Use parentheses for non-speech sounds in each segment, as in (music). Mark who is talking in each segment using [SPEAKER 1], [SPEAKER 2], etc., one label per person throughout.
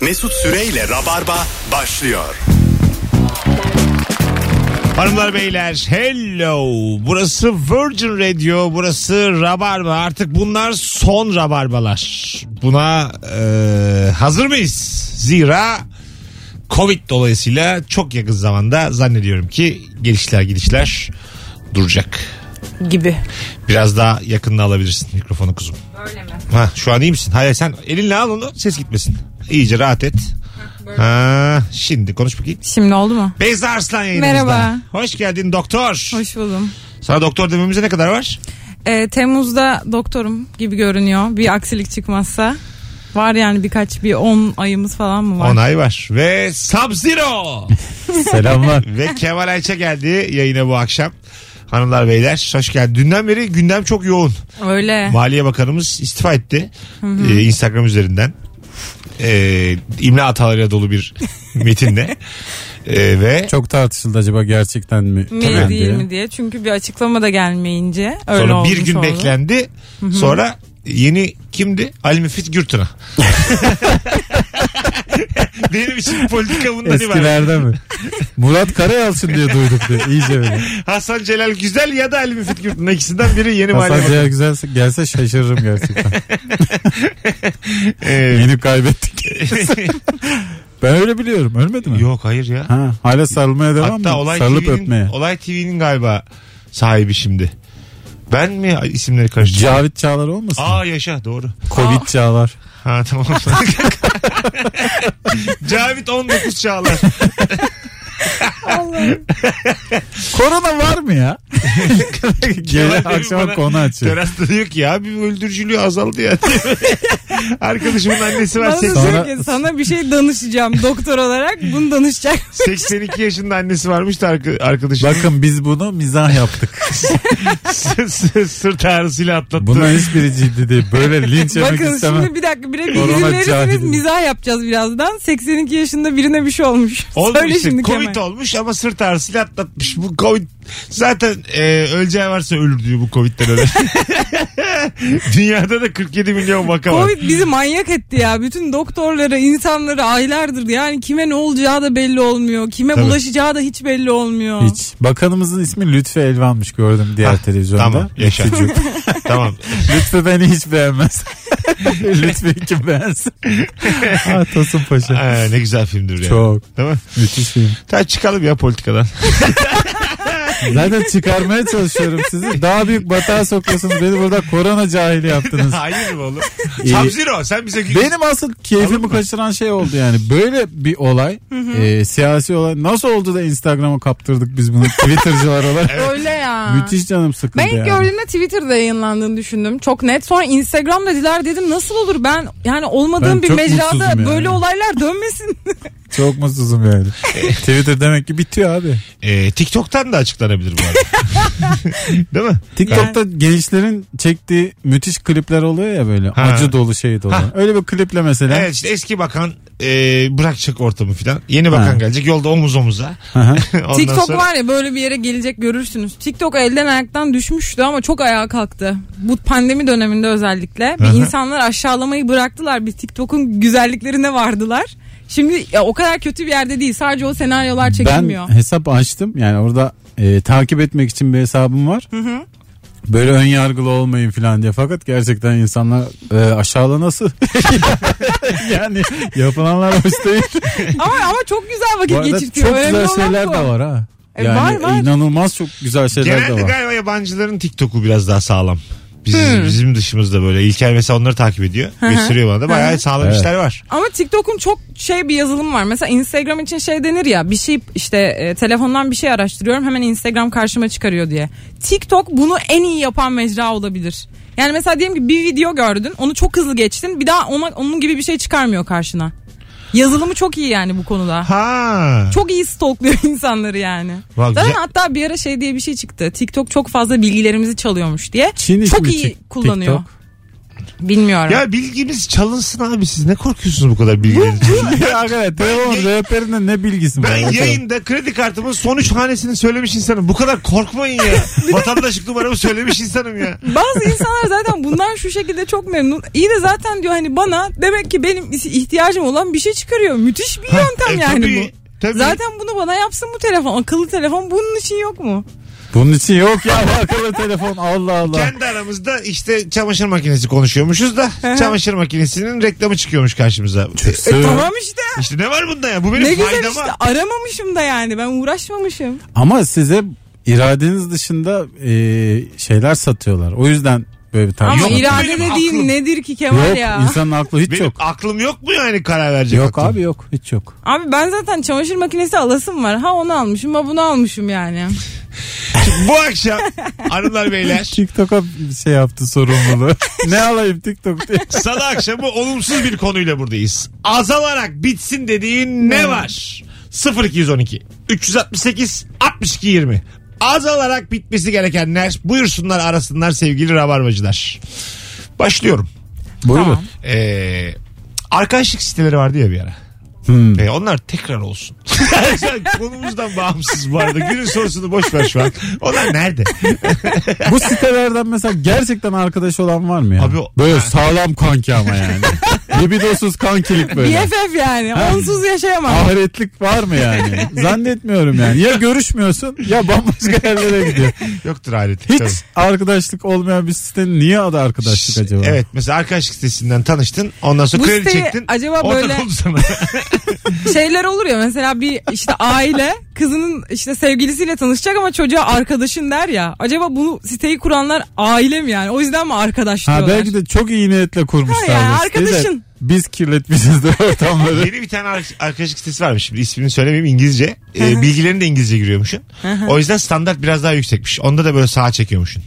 [SPEAKER 1] Mesut Süreyle Rabarba başlıyor.
[SPEAKER 2] Hanımlar beyler hello burası Virgin Radio burası Rabarba artık bunlar son Rabarbalar buna e, hazır mıyız zira Covid dolayısıyla çok yakın zamanda zannediyorum ki gelişler gidişler duracak
[SPEAKER 3] gibi.
[SPEAKER 2] biraz daha yakınına alabilirsin mikrofonu kuzum
[SPEAKER 3] Öyle mi?
[SPEAKER 2] ha, şu an iyi misin hayır sen elinle al onu ses gitmesin iyice rahat et ha, şimdi konuş bakayım
[SPEAKER 3] Şimdi oldu mu?
[SPEAKER 2] Beyza Arslan yayınımızda.
[SPEAKER 3] Merhaba.
[SPEAKER 2] Hoş geldin doktor.
[SPEAKER 3] Hoş buldum.
[SPEAKER 2] Sana doktor dememize ne kadar var?
[SPEAKER 3] Ee, Temmuz'da doktorum gibi görünüyor. Bir aksilik çıkmazsa. Var yani birkaç bir 10 ayımız falan mı var?
[SPEAKER 2] 10 ay var. Ve
[SPEAKER 3] (laughs)
[SPEAKER 2] Sub-Zero.
[SPEAKER 4] Selamlar.
[SPEAKER 2] Ve Kemal Ayça geldi yayına bu akşam. Hanımlar beyler hoş geldin. Dünden beri gündem çok yoğun.
[SPEAKER 3] Öyle.
[SPEAKER 2] Maliye Bakanımız istifa etti. Ee, Instagram üzerinden. Ee, imla hatalarıyla dolu
[SPEAKER 3] (laughs)
[SPEAKER 2] bir metinle. Ee, ve
[SPEAKER 4] Çok tartışıldı acaba gerçekten mi?
[SPEAKER 3] mi değil
[SPEAKER 4] Tabii diye.
[SPEAKER 3] mi diye. Çünkü bir açıklama da gelmeyince öyle
[SPEAKER 2] sonra bir
[SPEAKER 3] olmuş
[SPEAKER 2] gün
[SPEAKER 3] oldu. (laughs)
[SPEAKER 2] beklendi. Sonra yeni kimdi? Ali Müfit
[SPEAKER 3] (laughs)
[SPEAKER 2] Gürtün'a. Benim için politika bundan ibaret.
[SPEAKER 4] Eskilerde mi? Murat Karayalçın diye duyduk diye. İyice böyle.
[SPEAKER 2] Hasan Celal Güzel ya da Ali Müfit Gürtün ikisinden biri yeni
[SPEAKER 4] Hasan
[SPEAKER 2] maliye.
[SPEAKER 4] Ceyhan güzelse gelse şaşırırım gerçekten.
[SPEAKER 2] Ee,
[SPEAKER 4] Yeni kaybettik. ben öyle biliyorum. Ölmedi
[SPEAKER 2] (laughs)
[SPEAKER 4] mi?
[SPEAKER 2] yok hayır ya.
[SPEAKER 4] Ha, hala sarılmaya devam
[SPEAKER 2] Hatta
[SPEAKER 4] mı?
[SPEAKER 2] Olay
[SPEAKER 4] Sarılıp
[SPEAKER 2] TV'nin,
[SPEAKER 4] öpmeye.
[SPEAKER 2] Olay TV'nin galiba sahibi şimdi. Ben mi isimleri karıştırdım?
[SPEAKER 4] Cavit Çağlar olmasın?
[SPEAKER 2] Aa yaşa doğru.
[SPEAKER 4] Covid Çağlar.
[SPEAKER 2] Ha tamam. (laughs) Cavit 19
[SPEAKER 4] (laughs)
[SPEAKER 2] Çağlar.
[SPEAKER 4] Korona var mı ya? Geri
[SPEAKER 2] Kemal Bey bana
[SPEAKER 4] akşama konu açıyor.
[SPEAKER 2] Terasta diyor ki ya bir öldürücülüğü azaldı ya. (laughs) Arkadaşımın annesi var.
[SPEAKER 3] Bana da
[SPEAKER 2] seks-
[SPEAKER 4] Sonra-
[SPEAKER 3] diyor ki, sana bir şey danışacağım doktor olarak. Bunu danışacak.
[SPEAKER 2] 82 yaşında annesi varmış da arka- arkadaşım.
[SPEAKER 4] Bakın biz bunu mizah yaptık.
[SPEAKER 2] S- s- (laughs) sırt ağrısıyla atlattı.
[SPEAKER 4] Buna hiçbiri ciddi değil. Böyle linç yemek
[SPEAKER 3] Bakın
[SPEAKER 4] istemem.
[SPEAKER 3] şimdi bir dakika bire
[SPEAKER 4] Korona
[SPEAKER 3] bilgi veririz
[SPEAKER 4] cahili.
[SPEAKER 3] mizah yapacağız birazdan. 82 yaşında birine bir şey olmuş.
[SPEAKER 2] Oldu
[SPEAKER 3] Söyle
[SPEAKER 2] işte
[SPEAKER 3] şimdi
[SPEAKER 2] Covid
[SPEAKER 3] Kemal.
[SPEAKER 2] olmuş ama sırt ağrısıyla atlatmış. Bu Covid zaten e, öleceği varsa ölür diyor bu Covid'den öyle. (laughs) Dünyada da 47 milyon vaka var.
[SPEAKER 3] Covid bizi manyak etti ya. Bütün doktorlara, insanlara aylardır yani kime ne olacağı da belli olmuyor. Kime
[SPEAKER 2] Tabii.
[SPEAKER 3] bulaşacağı da hiç belli olmuyor.
[SPEAKER 4] Hiç. Bakanımızın ismi Lütfü Elvan'mış gördüm diğer
[SPEAKER 2] Hah,
[SPEAKER 4] televizyonda.
[SPEAKER 2] tamam, yaşa.
[SPEAKER 4] Lütfücük.
[SPEAKER 2] tamam.
[SPEAKER 4] Lütfü beni hiç beğenmez. Lütfü kim beğensin? ah, Tosun Paşa.
[SPEAKER 2] Ee, ne güzel filmdir yani.
[SPEAKER 4] Çok.
[SPEAKER 2] Değil mi?
[SPEAKER 4] Müthiş film.
[SPEAKER 2] Ta çıkalım ya politikadan.
[SPEAKER 4] Zaten çıkarmaya çalışıyorum sizi. Daha büyük batağa sokuyorsunuz. Beni burada korona cahili
[SPEAKER 2] (laughs)
[SPEAKER 4] yaptınız. Ee,
[SPEAKER 2] Hayır mı oğlum?
[SPEAKER 4] İyi.
[SPEAKER 2] Sub-Zero sen bize gü-
[SPEAKER 4] Benim asıl
[SPEAKER 2] Alın mı?
[SPEAKER 4] keyfimi kaçıran şey oldu yani. Böyle bir olay, e, siyasi olay nasıl oldu da Instagram'a kaptırdık biz bunu Twitter'cılar olarak.
[SPEAKER 3] Öyle ya.
[SPEAKER 4] Müthiş şey canım sıkıldı
[SPEAKER 3] Ben ilk
[SPEAKER 4] yani.
[SPEAKER 3] gördüğümde Twitter'da yayınlandığını düşündüm. Çok net. Sonra Instagram'da diler dedim nasıl olur ben yani olmadığım
[SPEAKER 4] Ben
[SPEAKER 3] bir
[SPEAKER 4] çok mutsuzum
[SPEAKER 3] mecrada
[SPEAKER 4] yani.
[SPEAKER 3] böyle olaylar dönmesin.
[SPEAKER 4] Çok mutsuzum yani. Twitter demek ki bitiyor abi.
[SPEAKER 2] Ee, TikTok'tan da açıklanabilir bu arada. (laughs) Değil mi?
[SPEAKER 4] TikTok'ta gençlerin çektiği müthiş klipler oluyor ya böyle
[SPEAKER 2] Ha.
[SPEAKER 4] acı dolu şey dolu.
[SPEAKER 2] Ha.
[SPEAKER 4] Öyle bir kliple mesela.
[SPEAKER 2] Evet işte eski bakan e, bırakacak ortamı filan. Yeni bakan
[SPEAKER 4] Ha.
[SPEAKER 2] gelecek yolda omuz omuza. (laughs)
[SPEAKER 4] Aha.
[SPEAKER 2] Ondan
[SPEAKER 3] TikTok
[SPEAKER 2] sonra-
[SPEAKER 3] var ya böyle bir yere gelecek görürsünüz. TikTok elden ayaktan düşmüştü ama çok ayağa kalktı. Bu pandemi döneminde özellikle. Bir
[SPEAKER 2] Aha.
[SPEAKER 3] insanlar aşağılamayı bıraktılar. Bir TikTok'un güzelliklerine vardılar. Şimdi ya, o kadar kötü bir yerde değil. Sadece o senaryolar çekilmiyor.
[SPEAKER 4] (laughs) Ben hesap açtım yani orada e, takip etmek için bir hesabım var. Böyle ön yargılı olmayın falan diye fakat gerçekten insanlar e, aşağılanası (laughs) yani yapılanlar hoş değil.
[SPEAKER 3] ama ama çok güzel
[SPEAKER 4] Bu
[SPEAKER 3] vakit
[SPEAKER 4] arada çok
[SPEAKER 3] geçirtiyor. Önemli
[SPEAKER 4] güzel
[SPEAKER 3] olan
[SPEAKER 4] şeyler
[SPEAKER 3] bu.
[SPEAKER 4] de var ha.
[SPEAKER 3] E,
[SPEAKER 4] Yani
[SPEAKER 3] var, var.
[SPEAKER 4] inanılmaz çok güzel şeyler
[SPEAKER 2] Genelde
[SPEAKER 4] de var.
[SPEAKER 2] galiba yabancıların TikTok'u biraz daha sağlam. Biz,
[SPEAKER 3] Hmm.
[SPEAKER 2] Bizim dışımızda böyle. İlker mesela onları takip ediyor. Gösteriyor bana da. Bayağı sağlam
[SPEAKER 4] Evet.
[SPEAKER 2] işler var.
[SPEAKER 3] Ama TikTok'un çok şey bir yazılım var. Mesela Instagram için şey denir ya bir şey işte e, telefondan bir şey araştırıyorum hemen Instagram karşıma çıkarıyor diye. TikTok bunu en iyi yapan mecra olabilir. Yani mesela diyelim ki bir video gördün onu çok hızlı geçtin bir daha ona, onun gibi bir şey çıkarmıyor karşına. Yazılımı çok iyi yani bu konuda.
[SPEAKER 2] Ha.
[SPEAKER 3] Çok iyi stalkluyor (laughs) insanları yani.
[SPEAKER 2] Vay,
[SPEAKER 3] Zaten
[SPEAKER 2] güzel.
[SPEAKER 3] hatta bir ara şey diye bir şey çıktı. TikTok çok fazla bilgilerimizi çalıyormuş diye.
[SPEAKER 4] Çin
[SPEAKER 3] çok
[SPEAKER 4] ismi
[SPEAKER 3] iyi
[SPEAKER 4] Tik-
[SPEAKER 3] kullanıyor.
[SPEAKER 4] TikTok.
[SPEAKER 3] Bilmiyorum.
[SPEAKER 2] Ya bilgimiz çalınsın abi siz ne korkuyorsunuz bu kadar bilgilerin içinde?
[SPEAKER 4] (laughs) Arkadaşlar telefon
[SPEAKER 2] Ben-
[SPEAKER 4] rehberinde ne bilgisi var?
[SPEAKER 2] Ben
[SPEAKER 4] Bakalım.
[SPEAKER 2] yayında kredi kartımın son üç hanesini söylemiş insanım. Bu kadar korkmayın
[SPEAKER 3] (laughs)
[SPEAKER 2] ya. Vatandaşlık numaramı söylemiş insanım ya.
[SPEAKER 3] Bazı insanlar zaten bundan şu şekilde çok memnun. İyi de zaten diyor hani bana demek ki benim ihtiyacım olan bir şey çıkarıyor. Müthiş bir yöntem
[SPEAKER 2] E,
[SPEAKER 3] yani
[SPEAKER 2] tabii,
[SPEAKER 3] bu.
[SPEAKER 2] Tabii.
[SPEAKER 3] Zaten bunu bana yapsın bu telefon. Akıllı telefon bunun için yok mu?
[SPEAKER 4] Bunun için yok ya akıllı telefon Allah Allah.
[SPEAKER 2] Kendi aramızda işte çamaşır makinesi konuşuyormuşuz da çamaşır makinesinin reklamı çıkıyormuş karşımıza.
[SPEAKER 3] E,
[SPEAKER 4] Sığ-
[SPEAKER 3] tamam işte.
[SPEAKER 2] İşte ne var bunda ya? Bu benim
[SPEAKER 3] Ne güzel
[SPEAKER 2] faydama.
[SPEAKER 3] işte aramamışım da yani ben uğraşmamışım.
[SPEAKER 4] Ama size iradeniz dışında e, şeyler satıyorlar. O yüzden böyle bir tartışma.
[SPEAKER 3] Ama
[SPEAKER 2] Yok,
[SPEAKER 3] irade
[SPEAKER 2] benim
[SPEAKER 3] dediğin
[SPEAKER 2] aklım-
[SPEAKER 3] nedir ki Kemal
[SPEAKER 4] Yok
[SPEAKER 3] ya?
[SPEAKER 4] insanın aklı hiç
[SPEAKER 2] Benim
[SPEAKER 4] yok.
[SPEAKER 2] aklım yok mu yani karar verecek
[SPEAKER 4] Yok
[SPEAKER 2] aklım?
[SPEAKER 4] abi yok hiç yok.
[SPEAKER 3] Abi ben zaten çamaşır makinesi alasım var. Ha onu almışım ha bunu almışım yani.
[SPEAKER 2] Bu akşam hanımlar
[SPEAKER 4] (laughs)
[SPEAKER 2] beyler
[SPEAKER 4] TikTok'a şey
[SPEAKER 3] (laughs)
[SPEAKER 4] yaptı sorumluluğu. ne alayım TikTok diye.
[SPEAKER 2] salı akşamı olumsuz bir konuyla buradayız. Azalarak bitsin dediğin
[SPEAKER 4] Hmm.
[SPEAKER 2] ne var? 0212 368 62 20 Azalarak bitmesi gerekenler buyursunlar arasınlar sevgili rabarbacılar. Başlıyorum.
[SPEAKER 4] Buyurun.
[SPEAKER 3] Tamam.
[SPEAKER 2] Ee, arkadaşlık siteleri vardı ya bir ara.
[SPEAKER 4] Hmm.
[SPEAKER 2] Ee, onlar tekrar olsun. (laughs) Şu an konumuzdan bağımsız bu arada. Günün sorusunu boş ver şu an. Onlar nerede?
[SPEAKER 4] Bu sitelerden mesela gerçekten arkadaş olan var mı ya?
[SPEAKER 2] Abi o-
[SPEAKER 4] böyle sağlam kanki
[SPEAKER 3] (laughs)
[SPEAKER 4] ama yani. Libidosuz kankilik böyle.
[SPEAKER 3] BFF yani onsuz yaşayamam.
[SPEAKER 4] Ahiretlik var
[SPEAKER 2] (laughs)
[SPEAKER 4] mı yani? Zannetmiyorum yani. Ya görüşmüyorsun ya bambaşka yerlere gidiyor.
[SPEAKER 2] Yoktur alet.
[SPEAKER 4] Hiç arkadaşlık olmayan bir sitenin niye adı arkadaşlık acaba?
[SPEAKER 2] Evet mesela arkadaşlık sitesinden tanıştın. Ondan sonra
[SPEAKER 3] Bu
[SPEAKER 2] kredi
[SPEAKER 3] siteyi
[SPEAKER 2] çektin.
[SPEAKER 3] acaba
[SPEAKER 2] ortak
[SPEAKER 3] böyle-
[SPEAKER 2] oldu sana.
[SPEAKER 3] (laughs) şeyler olur ya mesela bir işte aile kızının işte sevgilisiyle tanışacak ama çocuğa arkadaşın der ya. Acaba bunu siteyi kuranlar aile mi yani? O yüzden mi arkadaş diyorlar?
[SPEAKER 4] Ha belki de çok iyi niyetle kurmuşlar.
[SPEAKER 3] Ha ya,
[SPEAKER 4] bu siteyi de
[SPEAKER 3] arkadaşın.
[SPEAKER 4] Biz kirletmişiz de (laughs) ortamları.
[SPEAKER 2] Yeni bir tane ar- arkadaşlık sitesi varmış. Şimdi ismini söylemeyeyim İngilizce. Ee, bilgilerini de İngilizce giriyormuşsun. o yüzden standart biraz daha yüksekmiş. Onda da böyle sağa çekiyormuşsun.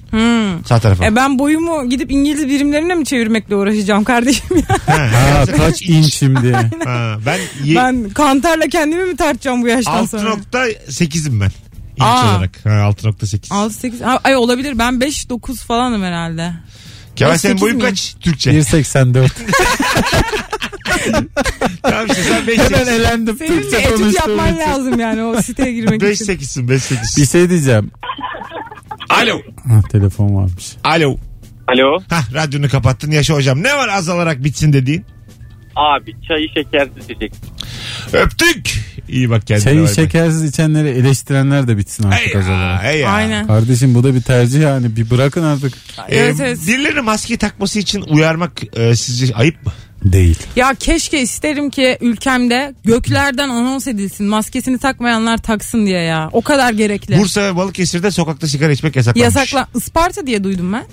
[SPEAKER 2] Sağ tarafa.
[SPEAKER 3] E ben boyumu gidip İngiliz birimlerine mi çevirmekle uğraşacağım kardeşim ya?
[SPEAKER 2] (laughs)
[SPEAKER 4] ha kaç
[SPEAKER 3] (laughs)
[SPEAKER 4] inçim diye.
[SPEAKER 2] Ha, ben, ye-
[SPEAKER 3] Ben kantarla kendimi mi tartacağım bu yaştan sonra?
[SPEAKER 2] 6.8'im ben. İnç
[SPEAKER 3] Aa.
[SPEAKER 2] olarak. Ha, 6.8.
[SPEAKER 3] 6 8 ay olabilir. Ben 5 9 falanım herhalde.
[SPEAKER 2] Kemal senin
[SPEAKER 3] 8
[SPEAKER 2] boyun
[SPEAKER 3] mi?
[SPEAKER 2] kaç? Türkçe.
[SPEAKER 4] 1.84.
[SPEAKER 3] (laughs) Şey,
[SPEAKER 2] tamam işte sen
[SPEAKER 3] (laughs)
[SPEAKER 4] Hemen
[SPEAKER 2] 5.8'sin.
[SPEAKER 4] elendim.
[SPEAKER 3] Senin bir
[SPEAKER 4] Türkçe
[SPEAKER 3] etüt
[SPEAKER 4] konuştuğum
[SPEAKER 3] yapman
[SPEAKER 4] için.
[SPEAKER 3] lazım yani o siteye girmek için.
[SPEAKER 2] 5.8'sin 5.8'sin.
[SPEAKER 4] Bir şey diyeceğim.
[SPEAKER 2] Alo.
[SPEAKER 4] Ha, telefon varmış.
[SPEAKER 2] Alo.
[SPEAKER 5] Alo.
[SPEAKER 2] Hah radyonu kapattın yaşa hocam. Ne var azalarak bitsin dediğin?
[SPEAKER 5] Abi çayı şekersiz içecek.
[SPEAKER 2] Öptük. İyi bak kendine. bay
[SPEAKER 4] Çayı
[SPEAKER 2] bay.
[SPEAKER 4] şekersiz içenleri eleştirenler de bitsin
[SPEAKER 2] Hey
[SPEAKER 4] artık
[SPEAKER 2] ya,
[SPEAKER 4] az olarak.
[SPEAKER 2] hey ya.
[SPEAKER 3] Aynen.
[SPEAKER 4] Kardeşim bu da bir tercih yani. Bir bırakın artık.
[SPEAKER 2] Ee,
[SPEAKER 3] Evet, evet.
[SPEAKER 2] Birilerine maske takması için uyarmak e, sizce ayıp mı?
[SPEAKER 4] Değil.
[SPEAKER 3] Ya keşke isterim ki ülkemde göklerden anons edilsin. Maskesini takmayanlar taksın diye ya. O kadar gerekli.
[SPEAKER 2] Bursa ve Balıkesir'de sokakta sigara içmek yasaklanmış.
[SPEAKER 3] Yasakla Isparta diye duydum ben.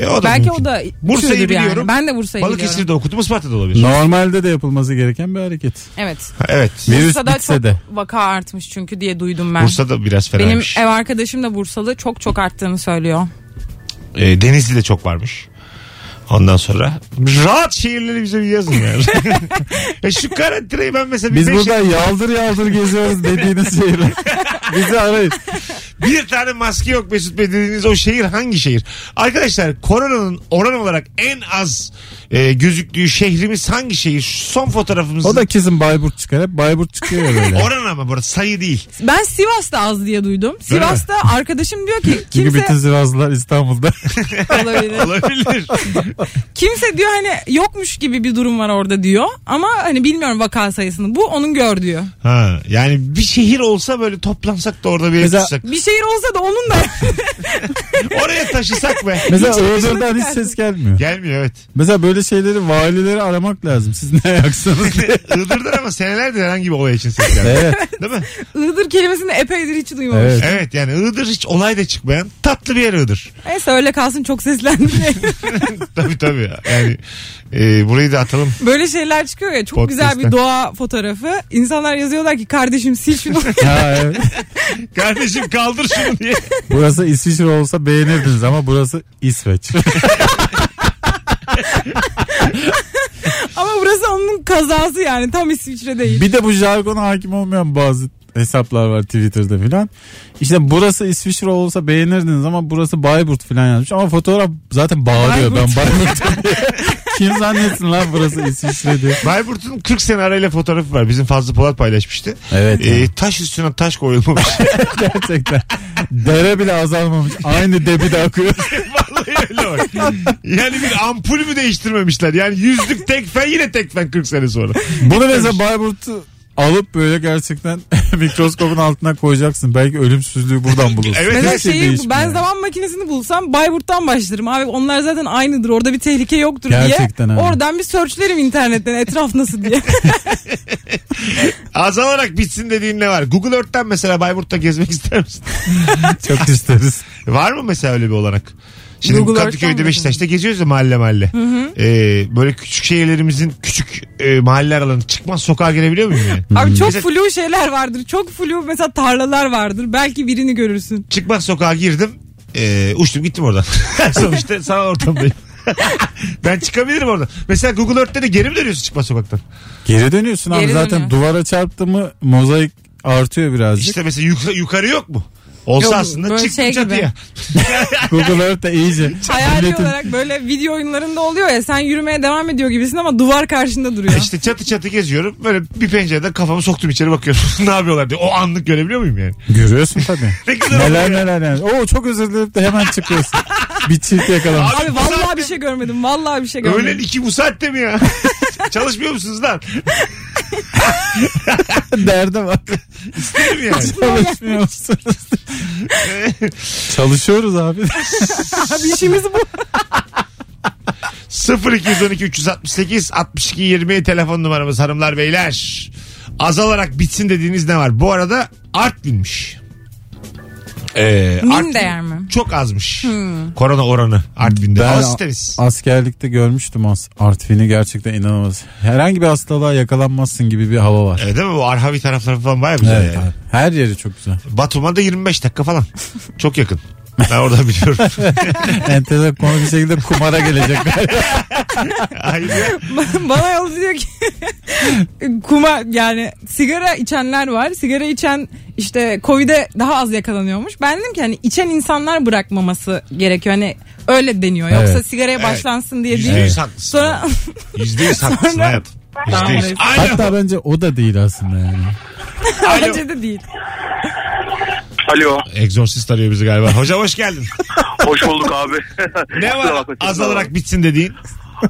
[SPEAKER 2] E, o da
[SPEAKER 3] Belki
[SPEAKER 2] mümkün.
[SPEAKER 3] o da
[SPEAKER 2] Bursa'yı
[SPEAKER 3] şudur yani.
[SPEAKER 2] biliyorum.
[SPEAKER 3] Ben de Bursa'yı biliyorum.
[SPEAKER 2] Balıkesir'de okudum Isparta'da olabilir.
[SPEAKER 4] Normalde de yapılması gereken bir hareket.
[SPEAKER 3] Evet.
[SPEAKER 2] Ha, Evet.
[SPEAKER 4] Virüs
[SPEAKER 3] Bursa'da
[SPEAKER 4] bitse
[SPEAKER 3] çok
[SPEAKER 4] de.
[SPEAKER 3] vaka artmış çünkü diye duydum ben.
[SPEAKER 2] Bursa'da biraz
[SPEAKER 3] Benim
[SPEAKER 2] fenaymış.
[SPEAKER 3] ev arkadaşım da Bursalı çok çok arttığını söylüyor.
[SPEAKER 2] E, Denizli'de çok varmış. Ondan sonra rahat şehirleri bize bir yazın
[SPEAKER 3] (laughs)
[SPEAKER 2] yani. e şu karantinayı ben mesela bir,
[SPEAKER 4] Biz
[SPEAKER 2] beş-
[SPEAKER 4] burada yaldır yaldır geziyoruz dediğiniz şeyler. Bizi arayın.
[SPEAKER 2] bir tane maske yok Mesut Bey dediğiniz o şehir hangi şehir? Arkadaşlar koronanın oran olarak en az e, gözüktüğü şehrimiz hangi şehir? Şu Son fotoğrafımızın
[SPEAKER 4] O da kesin Bayburt çıkar. Hep Bayburt çıkıyor
[SPEAKER 2] (laughs)
[SPEAKER 4] ya böyle.
[SPEAKER 2] oran ama burası sayı değil.
[SPEAKER 3] Ben Sivas'ta az diye duydum.
[SPEAKER 2] Öyle mi?
[SPEAKER 3] Sivas'ta arkadaşım diyor ki
[SPEAKER 4] Çünkü
[SPEAKER 3] kimse
[SPEAKER 4] bütün Sivaslılar İstanbul'da.
[SPEAKER 3] (laughs) olabilir.
[SPEAKER 2] Olabilir.
[SPEAKER 3] Kimse diyor hani yokmuş gibi bir durum var orada diyor. Ama hani bilmiyorum vaka sayısını. Bu onun gördüğü.
[SPEAKER 2] ha, yani bir şehir olsa böyle toplansak da orada bir ev
[SPEAKER 4] Mesela-
[SPEAKER 2] tutsak.
[SPEAKER 3] Bir şehir olsa da onun da. (laughs)
[SPEAKER 2] Oraya taşısak be.
[SPEAKER 4] Mesela Iğdır'dan hiç ses gelmiyor.
[SPEAKER 2] Gelmiyor evet.
[SPEAKER 4] Mesela böyle şeyleri valileri aramak lazım. Siz ne
[SPEAKER 2] (laughs)
[SPEAKER 4] ayaksınız diye.
[SPEAKER 2] Iğdır'dan ama senelerdir herhangi bir olay için ses gelmiyor.
[SPEAKER 4] Evet.
[SPEAKER 2] Değil mi?
[SPEAKER 3] Iğdır kelimesini epeydir hiç duymamış.
[SPEAKER 4] Evet.
[SPEAKER 2] Evet yani Iğdır hiç olay da çıkmayan tatlı bir yer Iğdır. (laughs)
[SPEAKER 3] Neyse öyle kalsın çok
[SPEAKER 4] (laughs)
[SPEAKER 3] seslendi.
[SPEAKER 2] tabii tabii. Yani e, burayı da atalım.
[SPEAKER 3] Böyle şeyler çıkıyor ya çok
[SPEAKER 4] Podcast'ten.
[SPEAKER 3] güzel bir doğa fotoğrafı. İnsanlar yazıyorlar ki kardeşim sil
[SPEAKER 4] (laughs)
[SPEAKER 3] şunu. (laughs)
[SPEAKER 4] Ha, evet.
[SPEAKER 2] Kardeşim kaldır şunu diye.
[SPEAKER 4] Burası İsviçre olsa beğenirdiniz ama burası İsveç.
[SPEAKER 3] Ama burası onun kazası yani tam İsviçre değil.
[SPEAKER 4] bir de bu jargona hakim olmayan bazı hesaplar var Twitter'da filan. İşte burası İsviçre olsa beğenirdiniz ama burası Bayburt filan yazmış. Ama fotoğraf zaten bağırıyor
[SPEAKER 3] Bayburt.
[SPEAKER 4] ben Bayburt (laughs) diye. Kim zannetsin lan burası İsviçre diye.
[SPEAKER 2] Bayburt'un 40 sene arayla fotoğrafı var. Bizim Fazlı Polat paylaşmıştı.
[SPEAKER 4] Evet.
[SPEAKER 2] Ee, taş üstüne taş
[SPEAKER 3] (laughs)
[SPEAKER 2] koyulmamış.
[SPEAKER 4] Gerçekten. Dere bile azalmamış. Aynı debide akıyor.
[SPEAKER 2] Vallahi öyle bak. Yani bir ampul mü değiştirmemişler? Yani yüzlük tekfen yine tekfen 40 sene sonra.
[SPEAKER 4] Bunu mesela Bayburt'u alıp böyle gerçekten (laughs) mikroskopun altına koyacaksın. Belki ölümsüzlüğü buradan bulursun.
[SPEAKER 2] Evet.
[SPEAKER 4] Her
[SPEAKER 3] Mesela
[SPEAKER 4] şey
[SPEAKER 3] şeyi
[SPEAKER 4] değişmiyor.
[SPEAKER 3] ben zaman makinesini bulsam Bayburt'tan başlarım abi onlar zaten aynıdır orada bir tehlike yoktur
[SPEAKER 4] Gerçekten
[SPEAKER 3] diye.
[SPEAKER 4] abi.
[SPEAKER 3] Oradan bir searchlerim internetten etraf nasıl
[SPEAKER 4] (laughs)
[SPEAKER 3] diye.
[SPEAKER 2] Azalarak bitsin dediğin ne var? Google Earth'ten mesela Bayburt'ta gezmek ister misin?
[SPEAKER 4] Çok isteriz.
[SPEAKER 2] Var mı mesela öyle bir olanak? Şimdi
[SPEAKER 3] Google Earth'ten
[SPEAKER 2] Kadıköy'de
[SPEAKER 3] mi?
[SPEAKER 2] Beşiktaş'ta geziyoruz ya mahalle mahalle. Ee, böyle küçük şehirlerimizin küçük e, mahalle aralarında çıkmaz sokağa girebiliyor muyum yani?
[SPEAKER 3] abi çok
[SPEAKER 2] Mesela-
[SPEAKER 3] flu şeyler vardır çok flu mesela tarlalar vardır belki birini görürsün.
[SPEAKER 2] Çıkmaz sokağa girdim. Ee, uçtum gittim oradan. (laughs) Sonuçta sağ ortamdayım. (laughs) ben çıkabilirim oradan. Mesela Google Earth'te de geri mi dönüyorsun çıkmaz sokaktan?
[SPEAKER 4] Geri dönüyorsun abi
[SPEAKER 3] Geri
[SPEAKER 4] zaten
[SPEAKER 3] dönüyor.
[SPEAKER 4] duvara çarptı mı mozaik artıyor birazcık.
[SPEAKER 2] İşte mesela yuk- yukarı yok mu? Olsa
[SPEAKER 3] Yok,
[SPEAKER 2] aslında
[SPEAKER 3] böyle
[SPEAKER 2] çıktı
[SPEAKER 3] şey gibi.
[SPEAKER 2] çatıya.
[SPEAKER 4] Google Earth de iyice.
[SPEAKER 3] (laughs) Hayali
[SPEAKER 4] milletin-
[SPEAKER 3] olarak böyle video oyunlarında oluyor ya sen yürümeye devam ediyor gibisin ama duvar karşında duruyor.
[SPEAKER 2] İşte E çatı çatı geziyorum. Böyle bir pencereden kafamı soktum içeri bakıyorum. (laughs) ne yapıyorlar diye. O anlık görebiliyor muyum yani?
[SPEAKER 4] Görüyorsun tabii.
[SPEAKER 2] (laughs) Ne güzel
[SPEAKER 4] neler
[SPEAKER 2] oluyor.
[SPEAKER 4] neler yani. Oo çok özür dilerim de hemen çıkıyorsun.
[SPEAKER 2] (laughs)
[SPEAKER 4] bir çift yakalamış.
[SPEAKER 3] Abi
[SPEAKER 2] bu saatte-
[SPEAKER 3] vallahi bir şey görmedim vallahi bir şey görmedim.
[SPEAKER 2] Öğlen iki bu saatte mi ya? (laughs) Çalışmıyor musunuz lan? (laughs)
[SPEAKER 4] Derde bak.
[SPEAKER 2] Değil mi yani? (laughs)
[SPEAKER 4] Çalışmıyor musunuz? Çalışıyoruz abi.
[SPEAKER 3] Abi
[SPEAKER 2] şey-
[SPEAKER 3] işimiz bu. (laughs)
[SPEAKER 2] 0212 368 62 20 telefon numaramız hanımlar beyler. Azalarak bitsin dediğiniz ne var? Bu arada Artvin'miş. Ee,
[SPEAKER 3] Min
[SPEAKER 2] Artvin
[SPEAKER 3] değer mi? Hmm.
[SPEAKER 2] Çok azmış. Korona oranı Artvin'de.
[SPEAKER 4] Ben
[SPEAKER 2] Ben
[SPEAKER 4] a- askerlikte görmüştüm as Artvin'i gerçekten inanılmaz. Herhangi bir hastalığa yakalanmazsın gibi bir hava var.
[SPEAKER 2] Evet Ee, değil mi? Bu Arhavi tarafları falan baya güzel.
[SPEAKER 4] Evet
[SPEAKER 2] yani.
[SPEAKER 4] abi. Her yeri çok güzel.
[SPEAKER 2] Batum'a da 25 dakika falan. Çok yakın. Ben oradan biliyorum.
[SPEAKER 4] (laughs) Enteresan konu bir şekilde
[SPEAKER 2] (laughs)
[SPEAKER 4] kumara gelecek galiba.
[SPEAKER 2] Ayrıca
[SPEAKER 3] Bana yolcu diyor ki (laughs) kuma yani sigara içenler var. Sigara içen işte Covid'e daha az yakalanıyormuş. Ben dedim ki hani içen insanlar bırakmaması gerekiyor. Hani öyle deniyor. Yoksa
[SPEAKER 4] Evet.
[SPEAKER 3] sigaraya başlansın diye
[SPEAKER 2] yüzde
[SPEAKER 3] değil.
[SPEAKER 2] yüz haklısın.
[SPEAKER 3] Sonra (laughs)
[SPEAKER 2] Yüzde yüz haklısın
[SPEAKER 3] Sonra-
[SPEAKER 2] hayatım. Yüzde yüz. Alo.
[SPEAKER 4] Hatta bence o da değil aslında yani.
[SPEAKER 2] Alo.
[SPEAKER 3] bence de değil.
[SPEAKER 5] Alo.
[SPEAKER 2] Exorcist arıyor bizi galiba. Hocam hoş geldin.
[SPEAKER 5] Hoş bulduk abi.
[SPEAKER 2] Ne
[SPEAKER 5] Kusura
[SPEAKER 2] var
[SPEAKER 5] bakma, çok
[SPEAKER 2] azalarak bitsin dediğin?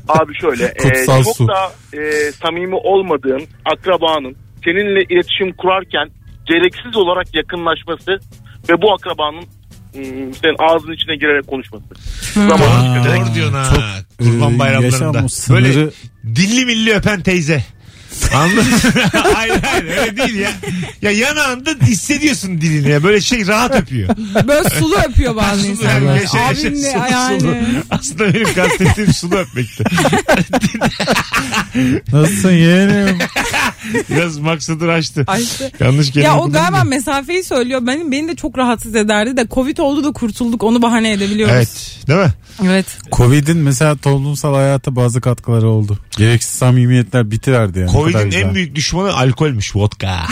[SPEAKER 5] Abi şöyle e,
[SPEAKER 4] Kutsal su.
[SPEAKER 5] çok da e, samimi olmadığın akrabanın seninle iletişim kurarken gereksiz olarak yakınlaşması ve bu akrabanın mm, senin ağzının içine girerek konuşması. Zamanı
[SPEAKER 2] Aa,
[SPEAKER 5] tüketerek.
[SPEAKER 2] Doğru diyorsun ha. Kurban
[SPEAKER 4] Ee,
[SPEAKER 2] bayramlarında.
[SPEAKER 4] yaşam o sınırı-
[SPEAKER 2] Böyle dilli milli öpen teyze. Anladın
[SPEAKER 4] (laughs)
[SPEAKER 2] mı? hayır hayır öyle değil ya. Ya yanağında hissediyorsun dilini ya. Böyle şey rahat öpüyor.
[SPEAKER 3] Böyle sulu
[SPEAKER 2] (laughs)
[SPEAKER 3] öpüyor bazı
[SPEAKER 2] Sulu
[SPEAKER 3] insanlar.
[SPEAKER 2] yani yaşa yaşa,
[SPEAKER 3] Abim ne
[SPEAKER 2] sulu şey, sulu.
[SPEAKER 3] yani.
[SPEAKER 2] Aslında benim kastettiğim sulu öpmekti.
[SPEAKER 4] Nasılsın yeğenim?
[SPEAKER 2] Biraz maksadı açtı.
[SPEAKER 3] Ay işte.
[SPEAKER 2] Yanlış kelime
[SPEAKER 3] Ya o
[SPEAKER 2] kullandım.
[SPEAKER 3] galiba mesafeyi söylüyor. Benim beni de çok rahatsız ederdi de Covid oldu da kurtulduk. Onu bahane edebiliyoruz.
[SPEAKER 2] Evet. Değil mi?
[SPEAKER 3] evet.
[SPEAKER 4] Covid'in mesela toplumsal hayata bazı katkıları oldu. Gereksiz samimiyetler bitiverdi yani. Ne kadar
[SPEAKER 2] Covid'in
[SPEAKER 4] güzel.
[SPEAKER 2] en büyük düşmanı alkolmüş. Vodka.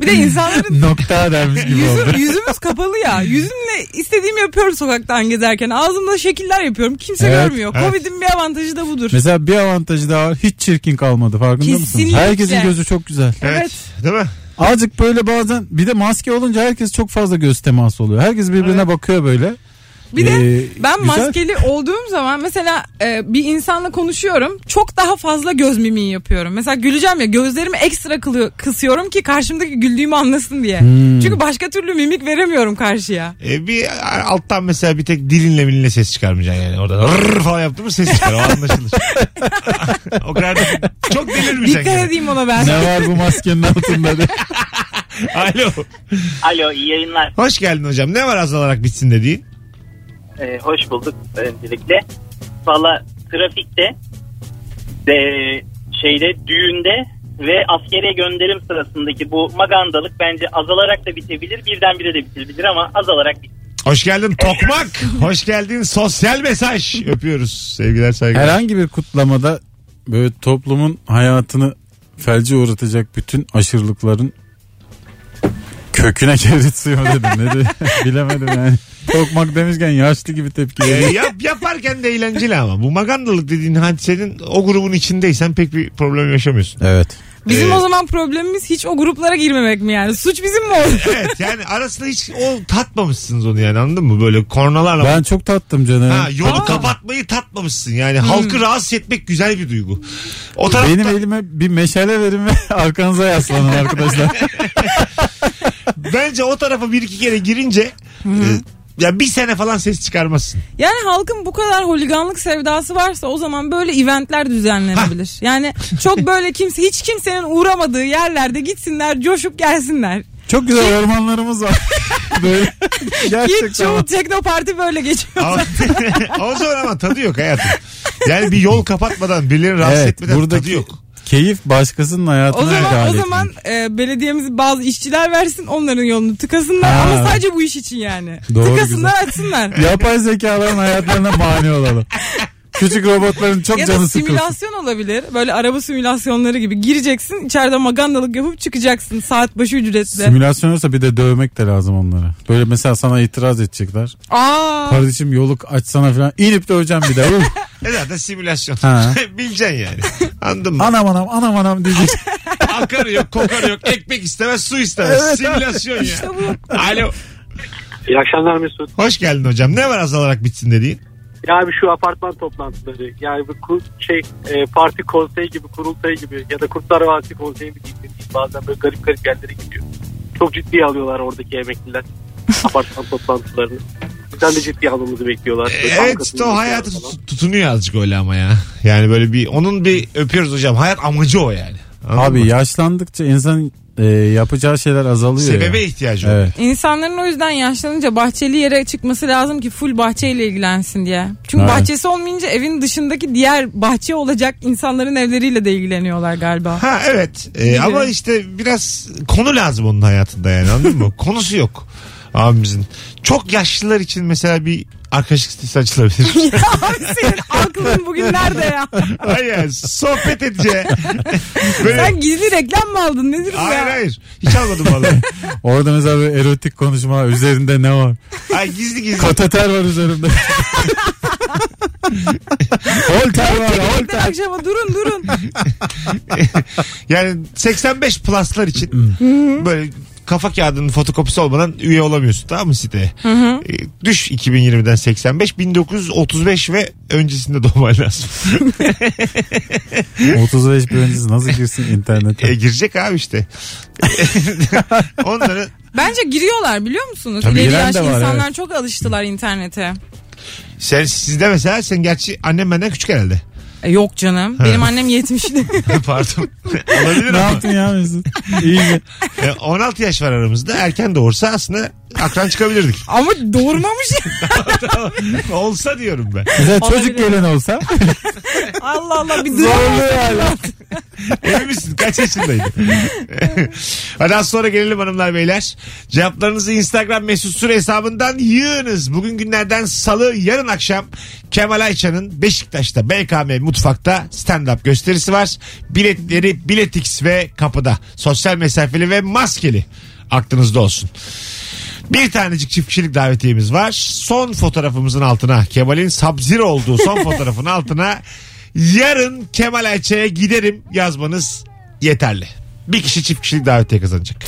[SPEAKER 3] Bir de insanların
[SPEAKER 4] (laughs) (laughs) nokta dermiş gibi oldu.
[SPEAKER 3] Yüzüm, yüzümüz kapalı ya. Yüzümle istediğimi yapıyorum sokaktan gezerken. Ağzımda şekiller yapıyorum. Kimse
[SPEAKER 4] Evet,
[SPEAKER 3] görmüyor. Covid'in bir avantajı da budur.
[SPEAKER 4] Mesela bir avantajı daha var. Hiç çirkin kalmadı farkında mısın?
[SPEAKER 3] Kesinlikle.
[SPEAKER 4] Herkesin gözü çok güzel.
[SPEAKER 2] Evet. Değil mi?
[SPEAKER 4] Azıcık böyle bazen bir de maske olunca herkes çok fazla göz teması oluyor. Herkes birbirine bakıyor böyle.
[SPEAKER 3] bir de
[SPEAKER 4] Ee,
[SPEAKER 3] ben
[SPEAKER 4] güzel.
[SPEAKER 3] maskeli olduğum zaman mesela e, bir insanla konuşuyorum. Çok daha fazla göz mimiği yapıyorum. Mesela güleceğim ya gözlerimi ekstra kılı- kısıyorum ki karşımdaki güldüğümü anlasın diye.
[SPEAKER 4] Hmm.
[SPEAKER 3] Çünkü başka türlü mimik veremiyorum karşıya.
[SPEAKER 2] E bir alttan mesela bir tek dilinle milinle ses çıkarmayacaksın yani. Orada rrrr falan yaptın mı ses çıkar. O anlaşılır. (laughs) o kadar da çok delirmeyeceksin.
[SPEAKER 3] Dikkat
[SPEAKER 2] yani.
[SPEAKER 3] edeyim ona ben.
[SPEAKER 4] Ne var bu maskenin altında diye.
[SPEAKER 2] Alo.
[SPEAKER 6] Alo iyi yayınlar.
[SPEAKER 2] Hoş geldin hocam. Ne var azalarak bitsin dediğin?
[SPEAKER 6] Ee, hoş bulduk öncelikle. Valla trafikte e, şeyde düğünde ve askere gönderim sırasındaki bu magandalık bence azalarak da bitebilir. Birdenbire de bitebilir ama azalarak bitebilir.
[SPEAKER 2] Hoş geldin Tokmak. Hoş geldin sosyal mesaj. Öpüyoruz. Sevgiler saygılar.
[SPEAKER 4] Herhangi bir kutlamada böyle toplumun hayatını felce uğratacak bütün aşırılıkların Köküne (laughs) kerit suyu mu dedim. Ne de- (laughs) Bilemedim yani. Tokmak demişken yaşlı gibi tepki
[SPEAKER 2] Ee,
[SPEAKER 4] veriyor.
[SPEAKER 2] yap, yaparken de eğlenceli ama. Bu magandalık dediğin hadisenin o grubun içindeysen pek bir problem yaşamıyorsun.
[SPEAKER 4] Evet.
[SPEAKER 3] Bizim
[SPEAKER 2] Ee,
[SPEAKER 3] o zaman problemimiz hiç o gruplara girmemek mi yani? Suç bizim mi oldu?
[SPEAKER 2] Evet yani arasında hiç o tatmamışsınız onu yani anladın mı? Böyle kornalarla.
[SPEAKER 4] Ben çok tattım canım.
[SPEAKER 2] Ha, yolu kapatmayı tatmamışsın yani. Halkı rahatsız etmek güzel bir duygu. O tarafta
[SPEAKER 4] Hmm. Benim elime bir meşale verin ve (laughs) arkanıza yaslanın arkadaşlar.
[SPEAKER 2] (laughs) bence o tarafa bir iki kere girince e, ya bir sene falan ses
[SPEAKER 4] (laughs)
[SPEAKER 2] çıkarmazsın.
[SPEAKER 3] (laughs) Yani halkın bu kadar holiganlık sevdası varsa o zaman böyle eventler düzenlenebilir. Yani çok böyle kimse hiç kimsenin uğramadığı yerlerde gitsinler, coşup gelsinler.
[SPEAKER 4] Çok güzel ormanlarımız var. (laughs) Böyle.
[SPEAKER 3] Ki
[SPEAKER 4] Gerçekten.
[SPEAKER 3] çoğu tekno parti böyle geçiyor.
[SPEAKER 2] Ama- (laughs) o zaman ama tadı yok hayatım. Yani bir yol kapatmadan birilerini rahatsız
[SPEAKER 4] Evet,
[SPEAKER 2] etmeden
[SPEAKER 4] buradaki-
[SPEAKER 2] tadı yok.
[SPEAKER 4] Keyif başkasının hayatına
[SPEAKER 3] O zaman
[SPEAKER 4] müdahale
[SPEAKER 3] o zaman e, belediyemiz bazı işçiler versin onların yolunu tıkasınlar
[SPEAKER 4] Ha.
[SPEAKER 3] ama sadece bu iş için yani.
[SPEAKER 4] Doğru,
[SPEAKER 3] tıkasınlar (laughs) açsınlar.
[SPEAKER 4] etmek. Yapay zekaların hayatlarına mani olalım. Küçük robotların çok
[SPEAKER 3] ya da
[SPEAKER 4] canı sıkılsın.
[SPEAKER 3] simülasyon olabilir. Böyle araba simülasyonları gibi gireceksin içeride magandalık yapıp çıkacaksın saat başı ücretle.
[SPEAKER 4] Simülasyon olursa bir de dövmek de lazım onlara. Böyle mesela sana itiraz edecekler.
[SPEAKER 3] Aa.
[SPEAKER 4] Kardeşim yoluk açsana falan. İnip döveceğim bir de. Uf.
[SPEAKER 2] E zaten simülasyon.
[SPEAKER 4] Ha.
[SPEAKER 2] (laughs) Bileceksin yani. Anladın
[SPEAKER 4] (laughs)
[SPEAKER 2] mı?
[SPEAKER 4] anam anam anam anam diyecek.
[SPEAKER 2] Akarı yok, kokarı yok. Ekmek istemez, su istemez. Simülasyon ya. Alo.
[SPEAKER 7] İyi akşamlar Mesut.
[SPEAKER 2] Hoş geldin hocam. Ne var azalarak bitsin dediğin?
[SPEAKER 7] Ya abi şu apartman toplantıları yani bu kur- şey e, parti konseyi gibi kurultayı gibi ya da kurtlar vadisi konseyi mi diyeyim, ne diyeyim, bazen böyle garip garip yerlere gidiyor. Çok ciddiye alıyorlar oradaki (laughs) emekliler apartman toplantılarını. Bizden de ciddiye almamızı bekliyorlar. Böyle
[SPEAKER 2] E, Evet
[SPEAKER 7] bankasını
[SPEAKER 2] işte o hayatı
[SPEAKER 7] bekliyorlar falan.
[SPEAKER 2] tut- tutunuyor azıcık öyle ama ya. Yani böyle bir onun bir öpüyoruz hocam. Hayat amacı o yani. Anladın
[SPEAKER 4] Abi
[SPEAKER 2] mı?
[SPEAKER 4] yaşlandıkça insan e, yapacağı şeyler azalıyor.
[SPEAKER 2] Sebebe
[SPEAKER 4] ya.
[SPEAKER 2] ihtiyacı var.
[SPEAKER 4] Evet.
[SPEAKER 3] İnsanların o yüzden yaşlanınca bahçeli yere çıkması lazım ki full bahçeyle ilgilensin diye. Çünkü
[SPEAKER 4] Evet.
[SPEAKER 3] bahçesi olmayınca evin dışındaki diğer bahçe olacak insanların evleriyle de ilgileniyorlar
[SPEAKER 4] (laughs)
[SPEAKER 3] galiba. (laughs)
[SPEAKER 2] Ha evet Ee, ama işte biraz konu lazım onun hayatında yani anladın mı? Konusu yok abimizin. Çok yaşlılar için mesela bir arkadaşlık sitesi
[SPEAKER 3] (laughs)
[SPEAKER 2] açılabilir.
[SPEAKER 3] ya abi senin aklın bugün nerede ya?
[SPEAKER 2] hayır sohbet edeceği. Böyle-
[SPEAKER 3] Sen gizli reklam mı aldın nedir bu
[SPEAKER 2] Hayır
[SPEAKER 3] ya?
[SPEAKER 2] hayır. Hiç almadım vallahi.
[SPEAKER 4] Orada mesela bir erotik konuşma üzerinde ne var?
[SPEAKER 2] Ay gizli gizli.
[SPEAKER 4] Kateter var üzerimde. holter var
[SPEAKER 3] Ben
[SPEAKER 4] holter.
[SPEAKER 3] akşama durun
[SPEAKER 4] (laughs)
[SPEAKER 3] durun.
[SPEAKER 2] Yani 85 pluslar için böyle kafa kağıdının fotokopisi olmadan üye olamıyorsun tamam mı siteye? E, Düş 2020'den 85 1935 ve öncesinde (laughs) doğman lazım.
[SPEAKER 4] 35 bir öncesi nasıl girsin
[SPEAKER 2] E,
[SPEAKER 4] internete?
[SPEAKER 2] girecek abi
[SPEAKER 4] (laughs)
[SPEAKER 2] işte. Onları
[SPEAKER 3] Bence giriyorlar biliyor musunuz?
[SPEAKER 4] Tabii
[SPEAKER 3] İleri
[SPEAKER 4] giren
[SPEAKER 3] yaş
[SPEAKER 4] de var,
[SPEAKER 3] insanlar
[SPEAKER 4] evet.
[SPEAKER 3] çok alıştılar internete.
[SPEAKER 2] sen sizde mesela sen gerçi annem benden küçük
[SPEAKER 4] (laughs)
[SPEAKER 2] herhalde.
[SPEAKER 3] E, yok canım. Benim annem 70'li.
[SPEAKER 2] Pardon. Olabilir
[SPEAKER 4] ne
[SPEAKER 2] ama.
[SPEAKER 4] yaptın ya Mesut? (laughs) İyi.
[SPEAKER 2] E, 16 yaş var aramızda. Erken doğursa aslında akran
[SPEAKER 4] (laughs)
[SPEAKER 2] çıkabilirdik.
[SPEAKER 3] Ama doğurmamış.
[SPEAKER 2] Olsa diyorum ben.
[SPEAKER 4] Mesela
[SPEAKER 3] Olabilir.
[SPEAKER 4] çocuk gelen olsa
[SPEAKER 3] Allah Allah bir dram
[SPEAKER 4] zorlu yani.
[SPEAKER 2] Emin misin? Kaç yaşındaydın? Hadi az sonra gelelim hanımlar beyler. Cevaplarınızı Instagram mesut süre hesabından yığınız. Bugün günlerden salı yarın akşam Kemal Ayça'nın Beşiktaş'ta BKM Mutfak'ta stand-up gösterisi var. Biletleri Biletix ve kapıda. Sosyal mesafeli ve maskeli. Aklınızda olsun. Bir tanecik çift kişilik davetiyemiz var. Son fotoğrafımızın altına Kemal'in sabzir olduğu son fotoğrafın altına yarın Kemal Ayça'ya giderim yazmanız yeterli. Bir kişi çift kişilik davetiye kazanacak.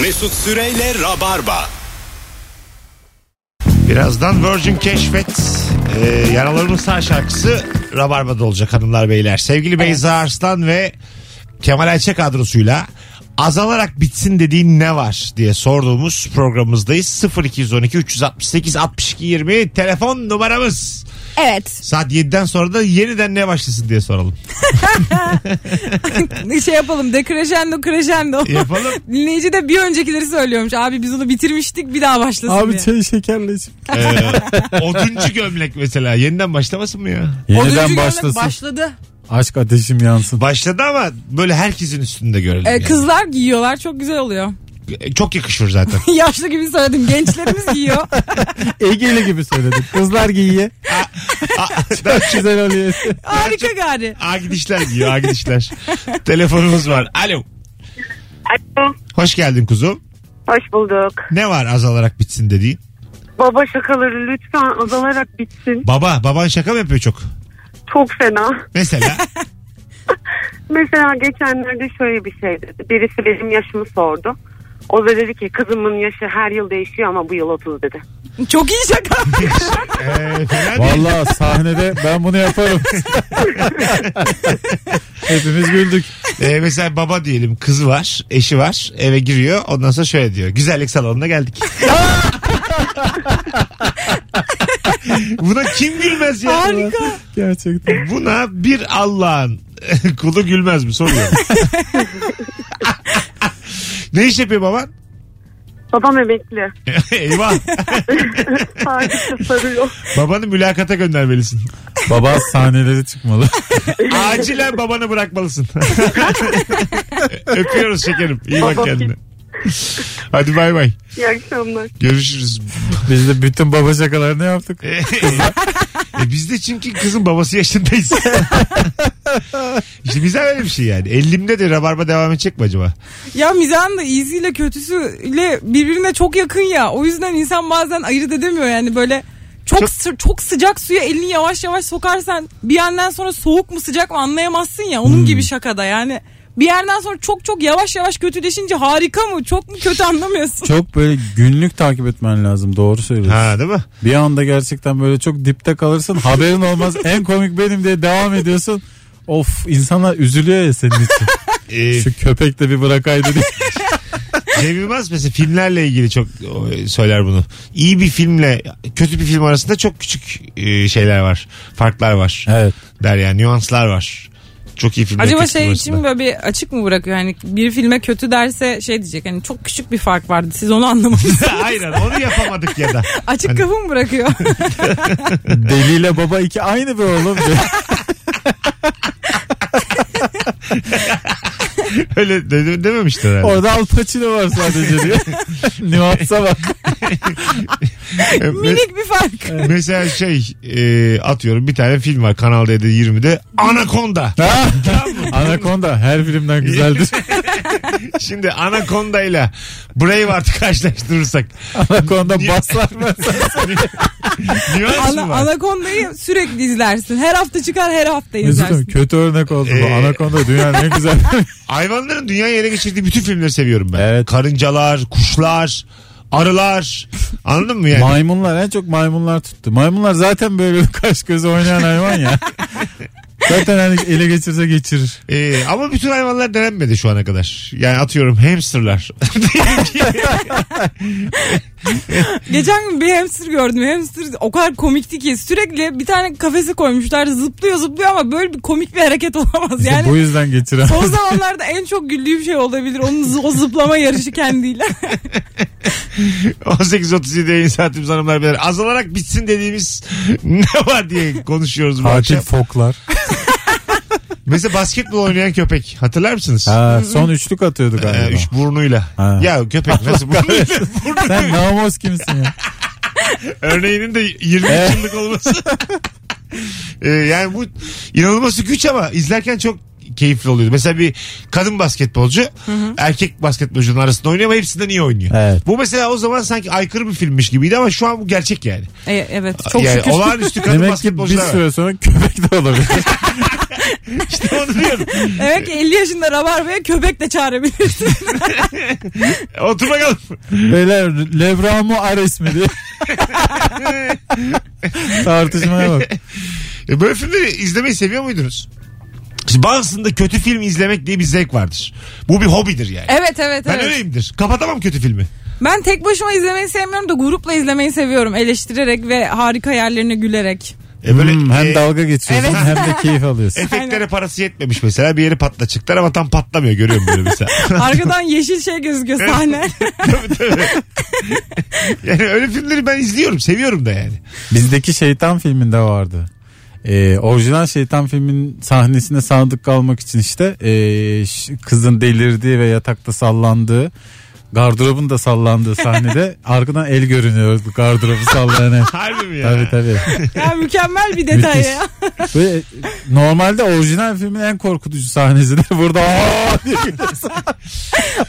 [SPEAKER 1] Mesut Süreyle Rabarba.
[SPEAKER 2] Birazdan Virgin Keşfet e, Yaralarımın Sağ şarkısı Rabarba'da olacak hanımlar beyler. Sevgili Beyza Arslan ve Kemal Ayça kadrosuyla azalarak bitsin dediğin ne var diye sorduğumuz programımızdayız. 0212 368 62 20 telefon numaramız.
[SPEAKER 3] Evet.
[SPEAKER 2] Saat 7'den sonra da yeniden ne başlasın diye soralım.
[SPEAKER 3] şey yapalım. De crescendo crescendo.
[SPEAKER 2] Yapalım.
[SPEAKER 3] (laughs) Dinleyici de bir öncekileri söylüyormuş. Abi biz onu bitirmiştik bir daha başlasın
[SPEAKER 4] Abi
[SPEAKER 3] diye.
[SPEAKER 4] çay şekerle iç.
[SPEAKER 2] Ee, oduncu gömlek mesela yeniden başlamasın mı ya?
[SPEAKER 3] Oduncu
[SPEAKER 4] Yeniden
[SPEAKER 3] gömlek
[SPEAKER 4] başlasın.
[SPEAKER 3] Başladı.
[SPEAKER 4] Aşk ateşim (laughs) yansın.
[SPEAKER 2] Başladı ama böyle herkesin üstünde görelim.
[SPEAKER 3] Ee,
[SPEAKER 2] yani. Ee,
[SPEAKER 3] kızlar giyiyorlar çok güzel oluyor. (laughs)
[SPEAKER 2] Çok yakışır zaten.
[SPEAKER 3] Yaşlı gibi söyledim. Gençlerimiz giyiyor.
[SPEAKER 4] Egeli gibi söyledik. Kızlar (laughs) giyiye. Çok güzel oluyor.
[SPEAKER 3] Harika gari.
[SPEAKER 2] (laughs) A gidişler giyiyor A (laughs) gidişler. Telefonumuz var. Alo.
[SPEAKER 8] Alo.
[SPEAKER 2] Hoş geldin kuzum.
[SPEAKER 8] Hoş bulduk.
[SPEAKER 2] Ne var azalarak bitsin dediğin?
[SPEAKER 8] Baba şakaları lütfen azalarak bitsin.
[SPEAKER 2] Baba, baban şaka mı yapıyor çok?
[SPEAKER 8] Çok fena.
[SPEAKER 2] (laughs) Mesela
[SPEAKER 8] Mesela geçenlerde şöyle bir şey dedi. Birisi benim yaşımı sordu. O da dedi ki kızımın yaşı her yıl değişiyor ama bu yıl 30 dedi.
[SPEAKER 3] Çok iyi şaka.
[SPEAKER 2] eee, Ee, fena değil.
[SPEAKER 4] Valla sahnede ben bunu yaparım. (laughs) Hepimiz güldük.
[SPEAKER 2] Eee, Ee, mesela baba diyelim kızı var, eşi var, eve giriyor. Ondan sonra şöyle diyor. Güzellik salonuna geldik. Buna kim gülmez ya?
[SPEAKER 3] Harika.
[SPEAKER 4] Gerçekten.
[SPEAKER 2] Buna bir Allah'ın (laughs) kulu gülmez mi soruyorum. ne iş yapıyor baban? (laughs)
[SPEAKER 8] Babam emekli.
[SPEAKER 2] Eyvah.
[SPEAKER 8] Sadece sarıyor.
[SPEAKER 2] Babanı mülakata göndermelisin.
[SPEAKER 4] Baba sahneleri çıkmalı.
[SPEAKER 2] Acilen babanı bırakmalısın. (laughs) Öpüyoruz şekerim. İyi bak
[SPEAKER 8] Babam
[SPEAKER 2] kendine. Hadi bay bay.
[SPEAKER 8] İyi akşamlar.
[SPEAKER 2] Görüşürüz.
[SPEAKER 4] Biz de bütün baba şakalarını
[SPEAKER 2] (laughs)
[SPEAKER 4] yaptık.
[SPEAKER 2] e, biz de çünkü kızın babası yaşındayız. işte bize öyle bir şey yani. Elimde de rabarba devam edecek mi acaba?
[SPEAKER 3] ya mizahın da iyisiyle kötüsüyle birbirine çok yakın ya. O yüzden insan bazen ayırt edemiyor yani böyle çok
[SPEAKER 2] Çok-
[SPEAKER 3] çok, çok sıcak suya elini yavaş yavaş sokarsan bir yandan sonra soğuk mu sıcak mı anlayamazsın ya. Onun
[SPEAKER 2] Hmm.
[SPEAKER 3] gibi şakada yani. Bir yerden sonra çok çok yavaş yavaş kötüleşince harika mı çok mu
[SPEAKER 2] (laughs)
[SPEAKER 3] kötü anlamıyorsun.
[SPEAKER 4] Çok böyle günlük takip etmen lazım. Doğru söylüyorsun.
[SPEAKER 2] Ha değil mi?
[SPEAKER 4] Bir anda gerçekten böyle çok dipte kalırsın. Haberin (laughs) olmaz. en komik benim diye devam ediyorsun. Of insanlar üzülüyor ya senin için.
[SPEAKER 2] Ee,
[SPEAKER 4] Şu köpek de bir bırakaydı (laughs) diye.
[SPEAKER 2] Cem Yılmaz mesela filmlerle ilgili çok o, söyler bunu. İyi bir filmle kötü bir film arasında çok küçük e, şeyler var. Farklar var.
[SPEAKER 4] Evet.
[SPEAKER 2] Der yani nüanslar var. Çok iyi filmler.
[SPEAKER 3] Acaba
[SPEAKER 2] kötü film
[SPEAKER 3] şey için
[SPEAKER 2] arasında.
[SPEAKER 3] böyle bir açık mı bırakıyor? Yani bir filme kötü derse şey diyecek hani çok küçük bir fark vardı siz
[SPEAKER 2] (laughs)
[SPEAKER 3] onu anlamadınız.
[SPEAKER 2] (laughs) Aynen onu yapamadık ya da.
[SPEAKER 3] açık
[SPEAKER 2] Hani-
[SPEAKER 3] kapı
[SPEAKER 2] (laughs)
[SPEAKER 3] mı bırakıyor? (laughs)
[SPEAKER 4] (laughs) Deliyle baba iki aynı be oğlum.
[SPEAKER 2] Öyle de- de- dememiştir herhalde.
[SPEAKER 4] Orada Al Pacino var sadece diye. (laughs) Nüansa bak.
[SPEAKER 2] Ee, me-
[SPEAKER 3] Minik bir fark.
[SPEAKER 2] Mesela şey e, atıyorum bir tane film var Kanal D'de 20'de Anaconda. (laughs)
[SPEAKER 4] Ha? (laughs) Anaconda her filmden güzeldir.
[SPEAKER 2] Şimdi Anaconda ile Braveheart'ı (laughs)
[SPEAKER 3] (laughs)
[SPEAKER 2] karşılaştırırsak
[SPEAKER 4] (laughs) Anaconda baslar mı?
[SPEAKER 2] nüans mı
[SPEAKER 3] Ana,
[SPEAKER 2] var?
[SPEAKER 3] Anaconda'yı sürekli izlersin. Her hafta çıkar her hafta
[SPEAKER 4] Mesut'um
[SPEAKER 3] izlersin.
[SPEAKER 4] kötü örnek oldu bu.
[SPEAKER 2] Ee,
[SPEAKER 4] Anaconda dünyanın en güzel.
[SPEAKER 2] Hayvanların dünyayı ele geçirdiği bütün filmleri seviyorum ben.
[SPEAKER 4] Evet.
[SPEAKER 2] Karıncalar, kuşlar, arılar. Anladın mı yani?
[SPEAKER 4] maymunlar en çok maymunlar tuttu. Maymunlar zaten böyle kaş göz oynayan
[SPEAKER 2] (laughs)
[SPEAKER 4] hayvan ya. Zaten hani ele geçirse geçirir.
[SPEAKER 2] Ee, ama bütün hayvanlar denenmedi şu ana kadar. Yani atıyorum hamsterlar. (laughs)
[SPEAKER 3] Geçen gün bir hamster gördüm. Hamster o kadar komikti ki sürekli bir tane kafese koymuşlar. Zıplıyor zıplıyor ama böyle bir komik bir hareket (laughs) olamaz.
[SPEAKER 4] İşte
[SPEAKER 3] Yani
[SPEAKER 4] bu yüzden geçiren.
[SPEAKER 3] son zamanlarda en çok güldüğüm şey olabilir. Onun z- o zıplama yarışı kendiyle.
[SPEAKER 2] 18.37 yayın saatimiz hanımlar beyler. Azalarak bitsin dediğimiz (laughs) ne var diye konuşuyoruz bu
[SPEAKER 4] Tatil
[SPEAKER 2] akşam. (laughs)
[SPEAKER 4] foklar.
[SPEAKER 2] Mesela basketbol oynayan köpek. Hatırlar mısınız?
[SPEAKER 4] Ha, son üçlük atıyorduk
[SPEAKER 2] Ee,
[SPEAKER 4] galiba.
[SPEAKER 2] üç burnuyla.
[SPEAKER 4] Ha.
[SPEAKER 2] Ya köpek nasıl burnuyla? Burnu-
[SPEAKER 4] Sen namus kimsin ya?
[SPEAKER 2] (laughs) Örneğinin de 20 yıllık olması.
[SPEAKER 4] (laughs)
[SPEAKER 2] Ee, yani bu inanılması güç ama izlerken çok keyifli oluyordu. Mesela bir kadın basketbolcu erkek basketbolcunun arasında oynuyor ama hepsinden iyi oynuyor.
[SPEAKER 4] Evet.
[SPEAKER 2] Bu mesela o zaman sanki aykırı bir filmmiş gibiydi ama şu an bu gerçek yani.
[SPEAKER 3] E, evet çok
[SPEAKER 2] yani
[SPEAKER 3] şükür.
[SPEAKER 2] olağanüstü kadın
[SPEAKER 4] Demek ki bir
[SPEAKER 2] basketbolcular var.
[SPEAKER 4] süre sonra köpek
[SPEAKER 2] (laughs)
[SPEAKER 4] de olabilir.
[SPEAKER 2] İşte onu diyorum.
[SPEAKER 4] (laughs)
[SPEAKER 3] Evet ki 50 yaşında rabarbaya köpek de çağırabilirsin.
[SPEAKER 2] Otur bakalım.
[SPEAKER 4] Beyler Levramo Ares mi
[SPEAKER 2] (laughs)
[SPEAKER 4] diye. Tartışmaya bak.
[SPEAKER 2] E, Böyle filmleri izlemeyi seviyor muydunuz? Şimdi bazısında kötü film izlemek diye bir zevk vardır. Bu bir hobidir yani.
[SPEAKER 3] (laughs) evet evet
[SPEAKER 2] Ben
[SPEAKER 3] evet.
[SPEAKER 2] öyleyimdir. Kapatamam kötü filmi.
[SPEAKER 3] Ben tek başıma izlemeyi sevmiyorum da grupla izlemeyi seviyorum. Eleştirerek ve harika
[SPEAKER 2] (laughs)
[SPEAKER 3] yerlerine gülerek.
[SPEAKER 2] E böyle
[SPEAKER 4] Hmm, hem
[SPEAKER 2] e,
[SPEAKER 4] dalga geçiyorsun
[SPEAKER 3] Evet.
[SPEAKER 4] hem de
[SPEAKER 2] (laughs)
[SPEAKER 4] keyif alıyorsun.
[SPEAKER 2] Efektlere parası yetmemiş mesela bir yeri patlatacaklar ama tam patlamıyor görüyorum böyle mesela.
[SPEAKER 3] Arkadan yeşil şey gözüküyor sahne.
[SPEAKER 2] Tabii, tabii. yani öyle filmleri ben izliyorum seviyorum da yani.
[SPEAKER 4] Bizdeki şeytan filminde vardı. Ee, orijinal şeytan filmin sahnesine sadık kalmak için işte ee, ş- kızın delirdiği ve yatakta sallandığı Gardırobun da sallandığı
[SPEAKER 2] (laughs)
[SPEAKER 4] sahnede arkadan el görünüyor bu gardırobu sallayan el.
[SPEAKER 2] Harbi mi ya?
[SPEAKER 4] Tabii tabii.
[SPEAKER 3] Ya mükemmel bir detay
[SPEAKER 4] Müthiş.
[SPEAKER 3] ya. (laughs)
[SPEAKER 4] Böyle, normalde orijinal filmin en korkutucu sahnesidir. (laughs) Burada
[SPEAKER 2] (laughs)
[SPEAKER 4] "Aa!" diye gülüyorsun.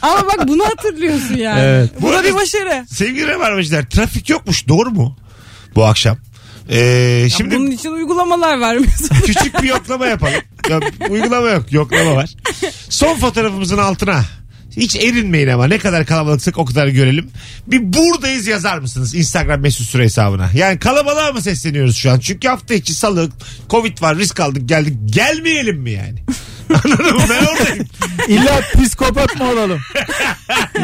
[SPEAKER 3] Ama bak bunu hatırlıyorsun yani.
[SPEAKER 4] Evet.
[SPEAKER 3] Bu da bir başarı.
[SPEAKER 2] Sevgili Rabarbacılar trafik yokmuş doğru mu? Bu akşam. Ee, şimdi
[SPEAKER 3] Bunun için uygulamalar var.
[SPEAKER 2] küçük bir yoklama yapalım. Ya, uygulama yok yoklama var. Son fotoğrafımızın altına hiç erinmeyin ama ne kadar kalabalıksak o kadar görelim. Bir buradayız yazar mısınız Instagram mesut süre hesabına? Yani kalabalığa mı sesleniyoruz şu an? Çünkü hafta içi salık, covid var, risk aldık geldik. Gelmeyelim mi yani? (laughs) Anladın mı? Ben oradayım.
[SPEAKER 4] İlla psikopat mı
[SPEAKER 2] (laughs)
[SPEAKER 4] olalım?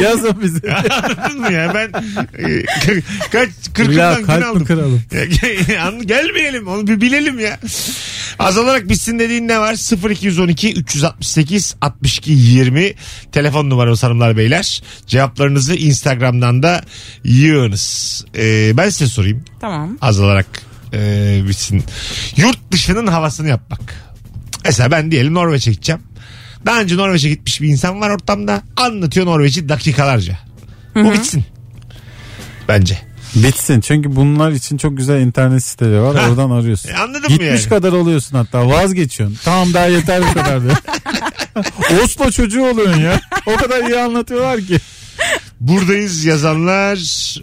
[SPEAKER 4] Yazın bize.
[SPEAKER 2] Anladın mı ya? Ben e, kaç
[SPEAKER 4] İlla
[SPEAKER 2] 40'ımdan gün
[SPEAKER 4] kalp mi
[SPEAKER 2] aldım.
[SPEAKER 4] kıralım?
[SPEAKER 2] Ya gel- (laughs) an- Gelmeyelim onu bir bilelim ya. Azalarak bitsin dediğin ne var? 0212 368 62 20 telefon numaramız hanımlar beyler. Cevaplarınızı Instagram'dan da yığınız. Ee, ben size sorayım
[SPEAKER 3] (laughs) tamam.
[SPEAKER 2] azalarak e, bitsin. Yurt dışının havasını yapmak. Mesela ben diyelim Norveç'e gideceğim. Daha önce Norveç'e gitmiş bir insan var ortamda. Anlatıyor Norveç'i dakikalarca. Bu bitsin. Bence.
[SPEAKER 4] Bitsin çünkü bunlar için çok güzel internet siteleri var
[SPEAKER 2] Ha.
[SPEAKER 4] oradan arıyorsun.
[SPEAKER 2] E, anladın mı
[SPEAKER 4] Gitmiş
[SPEAKER 2] yani?
[SPEAKER 4] kadar oluyorsun hatta vazgeçiyorsun. Tamam daha yeter bu kadar (laughs) diyor. Oslo çocuğu oluyorsun ya. O kadar iyi anlatıyorlar ki.
[SPEAKER 2] Buradayız yazanlar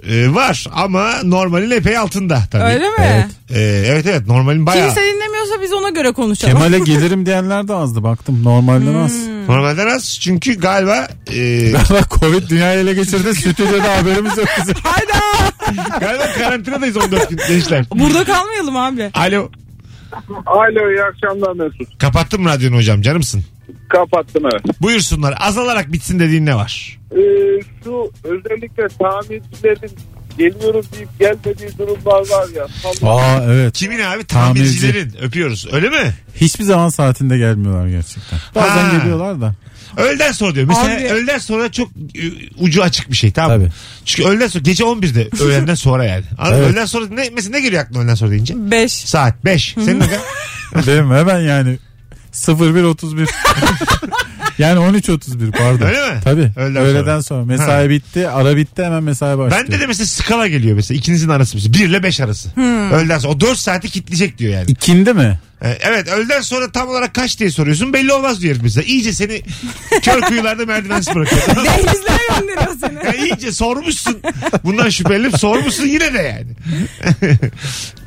[SPEAKER 2] e, var ama normalin epey altında tabii.
[SPEAKER 3] Öyle mi?
[SPEAKER 2] E, evet evet normalin bayağı.
[SPEAKER 3] Kimse dinlemiyorsa biz ona göre konuşalım.
[SPEAKER 4] Kemal'e (laughs) gelirim diyenler de azdı baktım normalden az.
[SPEAKER 3] Hmm.
[SPEAKER 2] Normalden az çünkü galiba
[SPEAKER 3] (laughs)
[SPEAKER 2] e,
[SPEAKER 4] Valla Covid dünyayı ele (laughs) geçirdi stüdyoda haberimiz yok bizim.
[SPEAKER 3] Hayda.
[SPEAKER 2] galiba karantinadayız 14 gün gençler.
[SPEAKER 3] Burada kalmayalım abi.
[SPEAKER 2] Alo
[SPEAKER 5] Alo iyi akşamlar Mesut.
[SPEAKER 2] kapattım radyonu hocam canımsın.
[SPEAKER 5] Kapattım evet.
[SPEAKER 2] Buyursunlar azalarak bitsin dediğin ne var?
[SPEAKER 5] Ee, şu özellikle tamircilerin geliyorum deyip gelmediği durumlar var ya. Tam-
[SPEAKER 4] Aa evet.
[SPEAKER 2] Kimin abi
[SPEAKER 4] Tamirci.
[SPEAKER 2] tamircilerin öpüyoruz öyle mi?
[SPEAKER 4] Hiçbir zaman saatinde gelmiyorlar gerçekten. Bazen
[SPEAKER 2] Ha.
[SPEAKER 4] geliyorlar da.
[SPEAKER 2] Öğleden sonra diyor. Mesela
[SPEAKER 3] Abi-
[SPEAKER 2] öğleden sonra çok e, ucu açık bir şey tamam mı?
[SPEAKER 4] Tabii.
[SPEAKER 2] Çünkü öğleden sonra gece
[SPEAKER 3] (laughs)
[SPEAKER 2] 11'de öğlenden sonra yani. Anladın mı?
[SPEAKER 4] Evet.
[SPEAKER 2] Öğleden sonra ne, mesela ne geliyor aklına öğleden sonra deyince?
[SPEAKER 3] 5.
[SPEAKER 2] Saat 5. Senin ne
[SPEAKER 3] (laughs)
[SPEAKER 2] kadar?
[SPEAKER 4] Değil mi? Hemen yani
[SPEAKER 2] (laughs)
[SPEAKER 4] 01.31. yani 13.31 pardon.
[SPEAKER 2] Öyle mi?
[SPEAKER 4] Tabii.
[SPEAKER 2] Öğleden
[SPEAKER 4] Öğleden,
[SPEAKER 2] sonra.
[SPEAKER 4] sonra. Mesai bitti. Ara bitti hemen mesai başlıyor.
[SPEAKER 2] Ben de de mesela skala geliyor mesela. İkinizin arası mesela. 1 ile 5 arası. Öğleden sonra. O 4 saati kitleyecek diyor yani.
[SPEAKER 4] İkindi mi?
[SPEAKER 2] Ee, evet öğleden sonra tam olarak kaç diye soruyorsun. Belli olmaz diyor herif mesela. İyice seni kör kuyularda merdivensiz bırakıyor.
[SPEAKER 3] Denizler gönderiyor
[SPEAKER 2] (laughs)
[SPEAKER 3] seni.
[SPEAKER 2] Ya iyice sormuşsun. Bundan şüphelenip sormuşsun yine de yani. (laughs)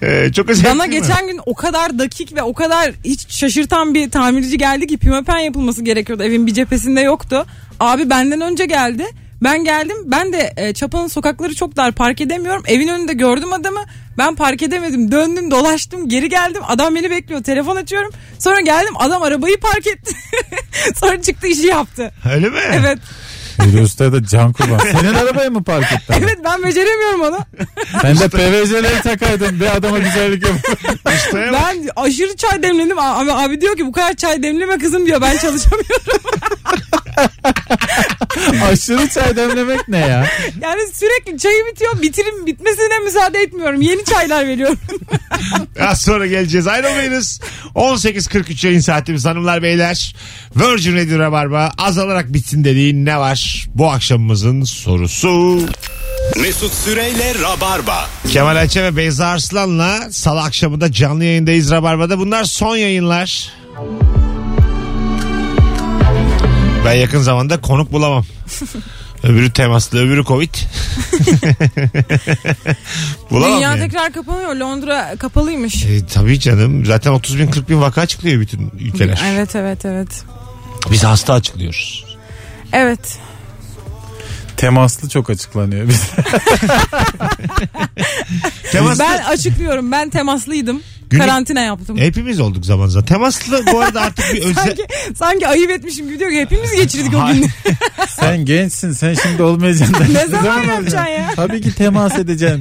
[SPEAKER 2] Ee, çok özel.
[SPEAKER 3] Bana geçen gün o kadar dakik ve o kadar hiç şaşırtan bir tamirci geldi ki pimapen yapılması gerekiyordu. Evin bir cephesinde yoktu. Abi benden önce geldi. Ben geldim. Ben de e, Çapa'nın sokakları çok dar. Park edemiyorum. Evin önünde gördüm adamı. Ben park edemedim. Döndüm, dolaştım, geri geldim. Adam beni bekliyor. Telefon açıyorum. Sonra geldim. Adam arabayı park etti. (laughs) Sonra çıktı işi yaptı.
[SPEAKER 2] Öyle mi?
[SPEAKER 3] Evet.
[SPEAKER 4] Virüste E, de
[SPEAKER 2] (laughs)
[SPEAKER 4] can kurban. Senin arabaya mı park etti?
[SPEAKER 3] Evet ben beceremiyorum onu.
[SPEAKER 4] Ben de PVC'leri takaydım. Bir adama güzellik yap.
[SPEAKER 2] (laughs) Ustaya bak.
[SPEAKER 3] Ben aşırı çay demledim. Abi, abi diyor ki bu kadar çay demleme kızım diyor. Ben çalışamıyorum.
[SPEAKER 4] Aşırı çay demlemek ne ya?
[SPEAKER 3] Yani sürekli çayı bitiyor. Bitirim bitmesine müsaade etmiyorum. Yeni çaylar veriyorum.
[SPEAKER 2] Az sonra geleceğiz. Ayrılmayınız. 18.43 yayın saatimiz hanımlar beyler. Virgin Radio Rabarba azalarak bitsin dediğin ne var? Bu akşamımızın sorusu.
[SPEAKER 1] Mesut Süreyle Rabarba.
[SPEAKER 2] Kemal Ayça ve Beyza Arslan'la salı akşamında canlı yayındayız Rabarba'da. Bunlar son yayınlar. Ben yakın zamanda konuk bulamam. öbürü temaslı, öbürü covid. bulamam
[SPEAKER 3] Dünya
[SPEAKER 2] yani.
[SPEAKER 3] tekrar kapanıyor. Londra kapalıymış.
[SPEAKER 2] E, tabii canım. Zaten 30 bin 40 bin vaka çıkıyor bütün ülkeler.
[SPEAKER 3] Evet evet evet.
[SPEAKER 2] Biz hasta açıklıyoruz.
[SPEAKER 3] Evet.
[SPEAKER 4] Temaslı çok açıklanıyor (laughs) bize.
[SPEAKER 2] Temaslı
[SPEAKER 3] Ben açıklıyorum. Ben temaslıydım.
[SPEAKER 2] Günlük-
[SPEAKER 3] Karantina yaptım.
[SPEAKER 2] hepimiz olduk zaman zaman. Temaslı bu arada artık bir özel...
[SPEAKER 3] (laughs) Sanki, sanki ayıp etmişim gibi diyor ki hepimiz geçirdik o
[SPEAKER 2] Hayır.
[SPEAKER 3] günü.
[SPEAKER 4] Sen gençsin. Sen şimdi olmayacaksın.
[SPEAKER 3] ne zaman yapacaksın ya?
[SPEAKER 4] Tabii ki temas edeceğim.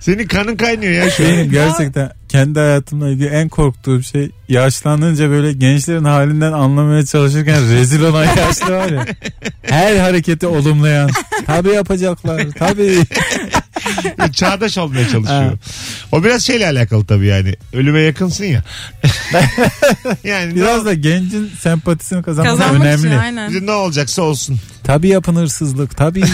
[SPEAKER 2] Senin kanın kaynıyor ya şu an.
[SPEAKER 4] Benim gerçekten kendi hayatımla ilgili en korktuğum şey yaşlandınca böyle gençlerin halinden
[SPEAKER 3] (laughs)
[SPEAKER 4] anlamaya çalışırken rezil olan yaşlı var ya. Her hareketi olumlayan. Tabii yapacaklar. Tabii.
[SPEAKER 2] Çağdaş olmaya çalışıyor. O biraz şeyle alakalı tabii yani. Ölüme yakınsın
[SPEAKER 3] (laughs)
[SPEAKER 2] ya. yani ne,
[SPEAKER 4] Biraz da gencin sempatisini kazanmak,
[SPEAKER 3] Kazanmak
[SPEAKER 4] önemli.
[SPEAKER 3] için aynen.
[SPEAKER 2] ne olacaksa olsun.
[SPEAKER 4] Tabii yapın
[SPEAKER 3] (laughs)
[SPEAKER 4] hırsızlık tabii.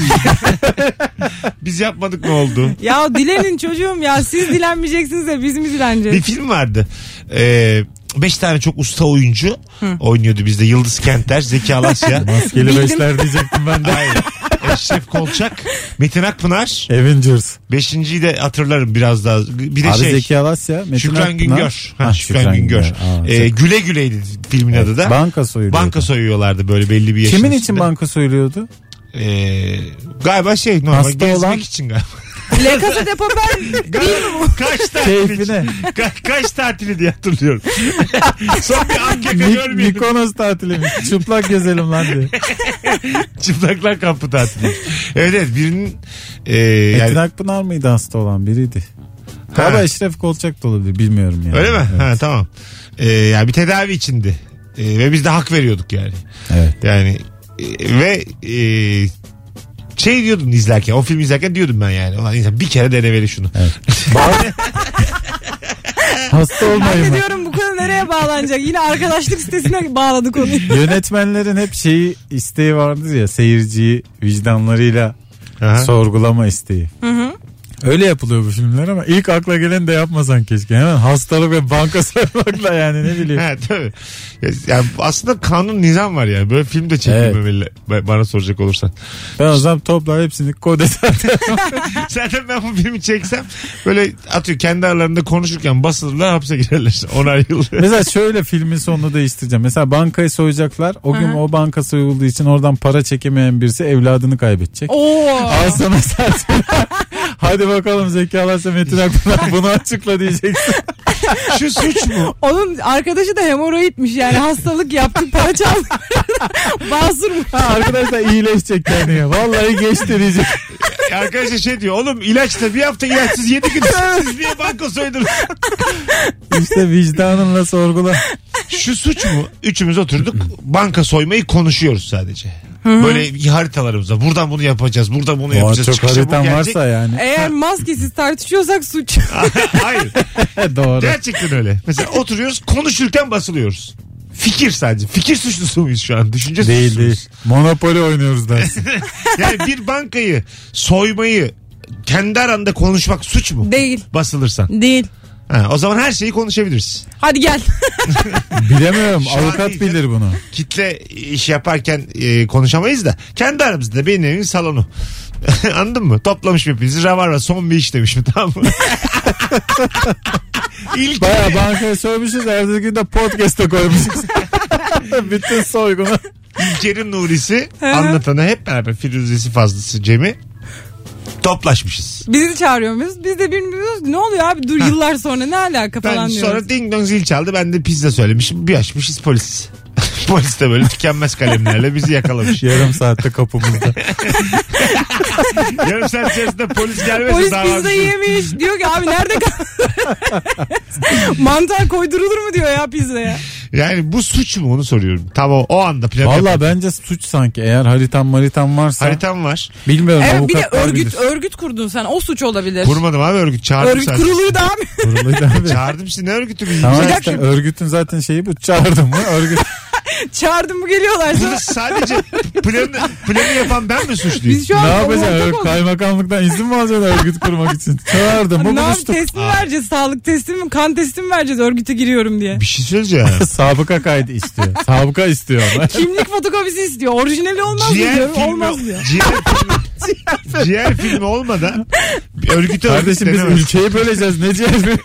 [SPEAKER 2] Biz yapmadık ne oldu?
[SPEAKER 3] Ya dilenin çocuğum ya siz dilenmeyeceksiniz de biz mi
[SPEAKER 2] Bir
[SPEAKER 3] dileneceğiz?
[SPEAKER 2] film vardı. Ee, beş tane çok usta oyuncu oynuyordu bizde. Yıldız Kenter, Zeki
[SPEAKER 3] (laughs)
[SPEAKER 2] Alasya.
[SPEAKER 4] Maskeli
[SPEAKER 3] Bildim.
[SPEAKER 4] beşler diyecektim ben de.
[SPEAKER 2] Hayır. Eşref Kolçak, Metin Akpınar.
[SPEAKER 4] Avengers.
[SPEAKER 2] Beşinciyi de hatırlarım biraz daha. Bir de
[SPEAKER 4] Abi
[SPEAKER 2] şey.
[SPEAKER 4] Zeki Alasya. Metin
[SPEAKER 2] Şükran
[SPEAKER 4] Akpınar.
[SPEAKER 2] Güngör. Ha,
[SPEAKER 4] Ha,
[SPEAKER 2] Şükran, Güngör.
[SPEAKER 4] Aa,
[SPEAKER 2] Ee, güle güleydi filmin adı da.
[SPEAKER 4] Banka soyuluyor.
[SPEAKER 2] banka soyuyorlardı böyle belli bir yaşın
[SPEAKER 4] Kimin için
[SPEAKER 2] içinde.
[SPEAKER 4] banka soyuluyordu?
[SPEAKER 2] Ee, galiba şey normal
[SPEAKER 4] Hasta
[SPEAKER 2] gezmek
[SPEAKER 4] olan-
[SPEAKER 2] için
[SPEAKER 4] (laughs)
[SPEAKER 2] galiba.
[SPEAKER 3] La Casa de Papel
[SPEAKER 2] Galiba kaç tatili için-
[SPEAKER 4] Keyfine.
[SPEAKER 2] Ka- kaç tatili diye
[SPEAKER 4] (laughs)
[SPEAKER 2] hatırlıyorum. Son bir
[SPEAKER 4] Mik-
[SPEAKER 2] Ankara'da görmeyelim.
[SPEAKER 4] Mikonos tatili. Çıplak gezelim lan diye.
[SPEAKER 2] Çıplaklar kampı tatili. Evet evet birinin e,
[SPEAKER 4] Metin
[SPEAKER 2] yani,
[SPEAKER 4] Akpınar mıydı hasta olan biriydi?
[SPEAKER 2] Ha.
[SPEAKER 4] Galiba Eşref Kolçak da olabilir bilmiyorum yani.
[SPEAKER 2] öyle mi?
[SPEAKER 4] Evet.
[SPEAKER 2] Ha, tamam. Ee, yani bir tedavi içindi. Ee, ve biz de hak veriyorduk yani.
[SPEAKER 4] Evet.
[SPEAKER 2] Yani e, ve e, şey diyordun izlerken o filmi izlerken diyordum ben yani. Ulan insan bir kere denemeli (laughs) şunu.
[SPEAKER 4] Bazı- hasta olmayın. mı?
[SPEAKER 3] diyorum bu konu nereye bağlanacak? Yine arkadaşlık sitesine bağladık konuyu.
[SPEAKER 4] Yönetmenlerin hep şeyi isteği vardır ya seyirciyi vicdanlarıyla
[SPEAKER 2] Aha.
[SPEAKER 4] sorgulama isteği. Öyle yapılıyor bu filmler ama ilk akla gelen de yapmasan keşke. Hemen hastalık ve banka (laughs) soymakla yani ne bileyim.
[SPEAKER 2] Ha, tabii. Ya- ya aslında kanun nizam var ya. Böyle film de çekilmemeli ba- bana soracak olursan.
[SPEAKER 4] Ben o zaman toplar hepsini
[SPEAKER 2] (laughs)
[SPEAKER 4] kod eder.
[SPEAKER 2] Zaten ben bu filmi çeksem böyle atıyor kendi aralarında konuşurken basılırlar hapse girerler. (laughs) Onar yıl.
[SPEAKER 4] Mesela şöyle filmin sonunu değiştireceğim. Mesela bankayı soyacaklar. O gün o banka soyulduğu için oradan para çekemeyen birisi evladını kaybedecek.
[SPEAKER 3] Oo.
[SPEAKER 4] Al sana sensin. (laughs) Hadi bakalım Zeki Alasya Metin Akpınar bunu açıkla diyeceksin.
[SPEAKER 2] Şu suç mu?
[SPEAKER 3] Onun arkadaşı da hemoroidmiş yani hastalık yaptı para çaldı. (laughs) Basur mu?
[SPEAKER 4] Ha, (laughs) arkadaşlar iyileşecek kendine. Vallahi geçti diyecek.
[SPEAKER 2] (laughs) Arkadaşlar şey diyor oğlum ilaç da bir hafta ilaçsız yedi (laughs) gün siz niye banka soydunuz?
[SPEAKER 4] İşte vicdanınla sorgula.
[SPEAKER 2] Şu suç mu? Üçümüz oturduk banka soymayı konuşuyoruz sadece. Böyle haritalarımızda buradan bunu yapacağız buradan bunu
[SPEAKER 4] Oha,
[SPEAKER 2] yapacağız.
[SPEAKER 4] çok
[SPEAKER 2] Çıkışa bu
[SPEAKER 4] haritan
[SPEAKER 2] gelecek.
[SPEAKER 4] varsa yani.
[SPEAKER 3] Eğer maskesiz tartışıyorsak suç.
[SPEAKER 2] (laughs) Hayır.
[SPEAKER 4] E, Doğru.
[SPEAKER 2] Gerçekten öyle. Mesela oturuyoruz konuşurken basılıyoruz. Fikir sadece. Fikir suçlusu muyuz şu an? Düşünce
[SPEAKER 4] Değil
[SPEAKER 2] suçlusu muyuz?
[SPEAKER 4] değil. (laughs) Monopoli oynuyoruz (laughs) dersin.
[SPEAKER 2] Yani bir bankayı soymayı kendi aranda konuşmak suç mu?
[SPEAKER 3] Değil.
[SPEAKER 2] Basılırsan.
[SPEAKER 3] Değil.
[SPEAKER 2] Ha, o zaman her şeyi konuşabiliriz.
[SPEAKER 3] Hadi gel.
[SPEAKER 4] Bilemiyorum.
[SPEAKER 2] Şu an
[SPEAKER 4] Avukat
[SPEAKER 2] değil.
[SPEAKER 4] bilir bunu.
[SPEAKER 2] Kitle iş yaparken e, konuşamayız da kendi aramızda benim evimin salonu. (laughs) Anladın mı? Toplamış hepinizi ravarva son bir iş demiş mi (laughs) tamam mı? İlk
[SPEAKER 4] Baya bankaya soymuşuz. Ertesi gün de podcast'a (laughs) koymuşuz. Bütün soygunu.
[SPEAKER 2] İlker'in Nuri'si anlatanı hep beraber Firuze'si fazlası Cem'i toplaşmışız.
[SPEAKER 3] Bizi çağırıyor muyuz? Biz de bilmiyoruz. ki, Ne oluyor abi? Dur yıllar sonra ne alaka
[SPEAKER 2] Ben
[SPEAKER 3] falan diyoruz.
[SPEAKER 2] sonra ding dong zil çaldı. Ben de pizza söylemişim. Bir açmışız polis. (laughs) polis de böyle tükenmez kalemlerle bizi
[SPEAKER 4] (laughs)
[SPEAKER 2] yakalamış.
[SPEAKER 4] Yarım saatte kapımızda.
[SPEAKER 2] Yarım saat içerisinde polis gelmezse
[SPEAKER 3] Polis
[SPEAKER 2] daha
[SPEAKER 3] pizza yemiş. Diyor ki abi nerede kal? (laughs) Mantar koydurulur mu diyor ya pizzaya.
[SPEAKER 2] Yani bu suç mu onu soruyorum. Tam o, o anda plan yapıp-
[SPEAKER 4] Valla bence suç sanki. Eğer haritan maritan varsa.
[SPEAKER 2] Haritam var.
[SPEAKER 4] Bilmiyorum
[SPEAKER 3] Evet bir de
[SPEAKER 4] avukatlar
[SPEAKER 3] örgüt
[SPEAKER 4] bilir.
[SPEAKER 3] örgüt kurdun sen. O suç olabilir.
[SPEAKER 2] Kurmadım abi örgüt. Çağırdım
[SPEAKER 3] örgüt
[SPEAKER 2] sadece.
[SPEAKER 3] kurulur da abi. (laughs)
[SPEAKER 4] Kuruluydu abi.
[SPEAKER 2] Çağırdım sizi ne örgütü biz?
[SPEAKER 3] Şey
[SPEAKER 4] Tamam
[SPEAKER 2] Biz-
[SPEAKER 4] işte örgütün zaten şeyi bu. Çağırdım mı örgüt.
[SPEAKER 3] Çağırdım mı
[SPEAKER 2] (laughs)
[SPEAKER 3] geliyorlar
[SPEAKER 2] Burada
[SPEAKER 3] sonra.
[SPEAKER 2] sadece planı, planı yapan ben mi suçluyum?
[SPEAKER 3] Biz (laughs) şu an
[SPEAKER 4] ne
[SPEAKER 3] ortak
[SPEAKER 4] yapacaksın?
[SPEAKER 3] olduk.
[SPEAKER 4] Kaymakamlıktan izin mi alacaksın örgüt kurmak için? Çağırdım mı
[SPEAKER 3] Ne yap
[SPEAKER 4] buluştuk.
[SPEAKER 3] test mi vereceğiz? Sağlık testi mi? Kan testi mi vereceğiz örgüte giriyorum diye.
[SPEAKER 2] Bir şey söyleyeceğim.
[SPEAKER 4] Sabıka kaydı istiyor. Sabıka istiyor
[SPEAKER 3] (laughs) (laughs)
[SPEAKER 4] ama.
[SPEAKER 3] Kimlik fotokopisi istiyor. Orijinali olmaz mı diyor. Olmaz diyor.
[SPEAKER 2] Ciğer filmi, ciğer filmi olmadan bir örgüte
[SPEAKER 4] Kardeşim biz
[SPEAKER 2] örgütlenemez.
[SPEAKER 4] ülkeyi böleceğiz. Ne diyeceğiz? (laughs)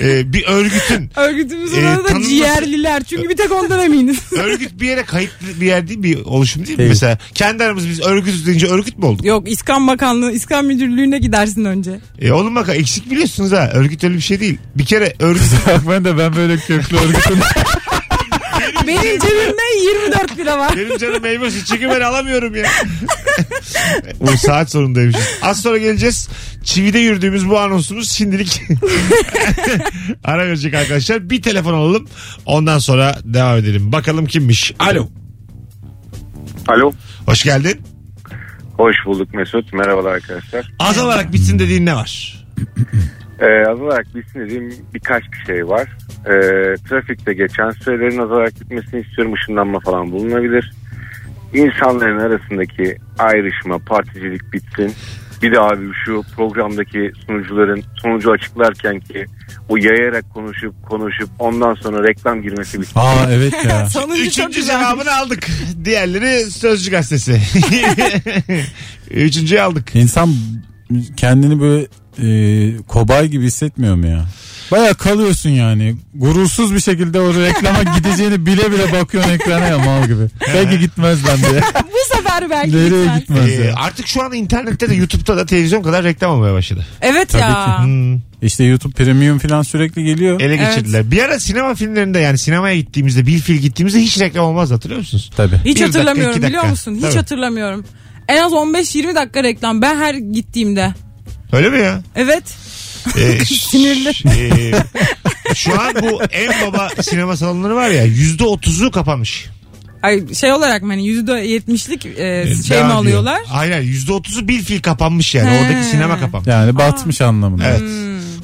[SPEAKER 2] Ee, bir örgütün
[SPEAKER 3] Örgütümüzün
[SPEAKER 2] Ee,
[SPEAKER 3] adı da
[SPEAKER 2] tanınması-
[SPEAKER 3] ciğerliler. Çünkü bir tek ondan eminiz. (laughs)
[SPEAKER 2] örgüt bir yere kayıtlı bir yer değil bir oluşum değil mi?
[SPEAKER 4] Değil.
[SPEAKER 2] Mesela kendi aramız biz örgütüz deyince örgüt mü olduk?
[SPEAKER 3] Yok İskan Bakanlığı, İskan Müdürlüğü'ne gidersin önce.
[SPEAKER 2] E oğlum bak eksik biliyorsunuz ha. Örgüt öyle bir şey değil. Bir kere örgüt
[SPEAKER 4] (laughs) Bak ben de ben böyle köklü örgütüm.
[SPEAKER 3] Benim cebimde 24 lira var.
[SPEAKER 2] (laughs) benim canım meyve suyu çünkü ben alamıyorum ya. o saat sonundaymış. Az sonra geleceğiz. Çivide yürüdüğümüz bu anonsumuz şimdilik (laughs) ara verecek arkadaşlar. Bir telefon alalım. Ondan sonra devam edelim. Bakalım kimmiş. Alo.
[SPEAKER 5] Alo.
[SPEAKER 2] Hoş geldin.
[SPEAKER 9] Hoş bulduk Mesut. Merhabalar arkadaşlar.
[SPEAKER 2] Az olarak bitsin dediğin ne
[SPEAKER 3] (laughs)
[SPEAKER 2] var?
[SPEAKER 9] Ee, az olarak bilsin dediğim birkaç bir şey var. Ee, trafikte geçen sürelerin azalarak gitmesini istiyorum. Işınlanma falan bulunabilir. İnsanların arasındaki ayrışma, particilik bitsin. Bir de abi şu programdaki sunucuların sonucu açıklarken ki o yayarak konuşup konuşup ondan sonra reklam girmesi bitsin.
[SPEAKER 4] Aa evet ya.
[SPEAKER 3] Sonuncu çok
[SPEAKER 2] Üçüncü
[SPEAKER 3] güzel.
[SPEAKER 2] cevabını aldık. Diğerleri Sözcü Gazetesi. (laughs) Üçüncüyü aldık.
[SPEAKER 4] İnsan kendini böyle e, kobay gibi hissetmiyor mu ya? Baya kalıyorsun yani. Gurursuz bir şekilde o reklama gideceğini bile bile bakıyorsun ekrana ya mal gibi.
[SPEAKER 3] (laughs)
[SPEAKER 4] Belki gitmez ben diye.
[SPEAKER 3] Bu sefer belki
[SPEAKER 4] Nereye
[SPEAKER 3] gitmez.
[SPEAKER 4] gitmez
[SPEAKER 2] Ee,
[SPEAKER 4] ya.
[SPEAKER 2] artık şu an internette de YouTube'da da televizyon kadar reklam olmaya başladı.
[SPEAKER 3] Evet
[SPEAKER 4] Tabii
[SPEAKER 3] ya.
[SPEAKER 2] Hmm.
[SPEAKER 4] İşte YouTube Premium falan sürekli geliyor.
[SPEAKER 2] Ele geçirdiler. Bir ara sinema filmlerinde yani sinemaya gittiğimizde bilfil gittiğimizde hiç reklam olmaz hatırlıyor musunuz?
[SPEAKER 4] Tabii.
[SPEAKER 3] Hiç
[SPEAKER 2] Bir dakika,
[SPEAKER 3] hatırlamıyorum
[SPEAKER 2] iki dakika.
[SPEAKER 3] biliyor musun? Hiç
[SPEAKER 2] Tabii.
[SPEAKER 3] hatırlamıyorum. En az 15-20 dakika reklam ben her gittiğimde.
[SPEAKER 2] Öyle mi
[SPEAKER 3] (laughs)
[SPEAKER 2] ya?
[SPEAKER 3] Evet.
[SPEAKER 2] Ee,
[SPEAKER 3] Sinirli.
[SPEAKER 2] ş- e, şu an bu en baba sinema salonları var ya yüzde otuzu kapanmış.
[SPEAKER 3] Ay şey olarak mı hani %70'lik e,
[SPEAKER 2] Ee,
[SPEAKER 3] şey
[SPEAKER 2] devam
[SPEAKER 3] mi
[SPEAKER 2] ediyor.
[SPEAKER 3] alıyorlar?
[SPEAKER 2] Hayır yüzde otuzu bilfil kapanmış yani
[SPEAKER 3] He. Hmm.
[SPEAKER 2] oradaki sinema kapanmış.
[SPEAKER 4] Yani batmış anlamında.
[SPEAKER 2] Evet.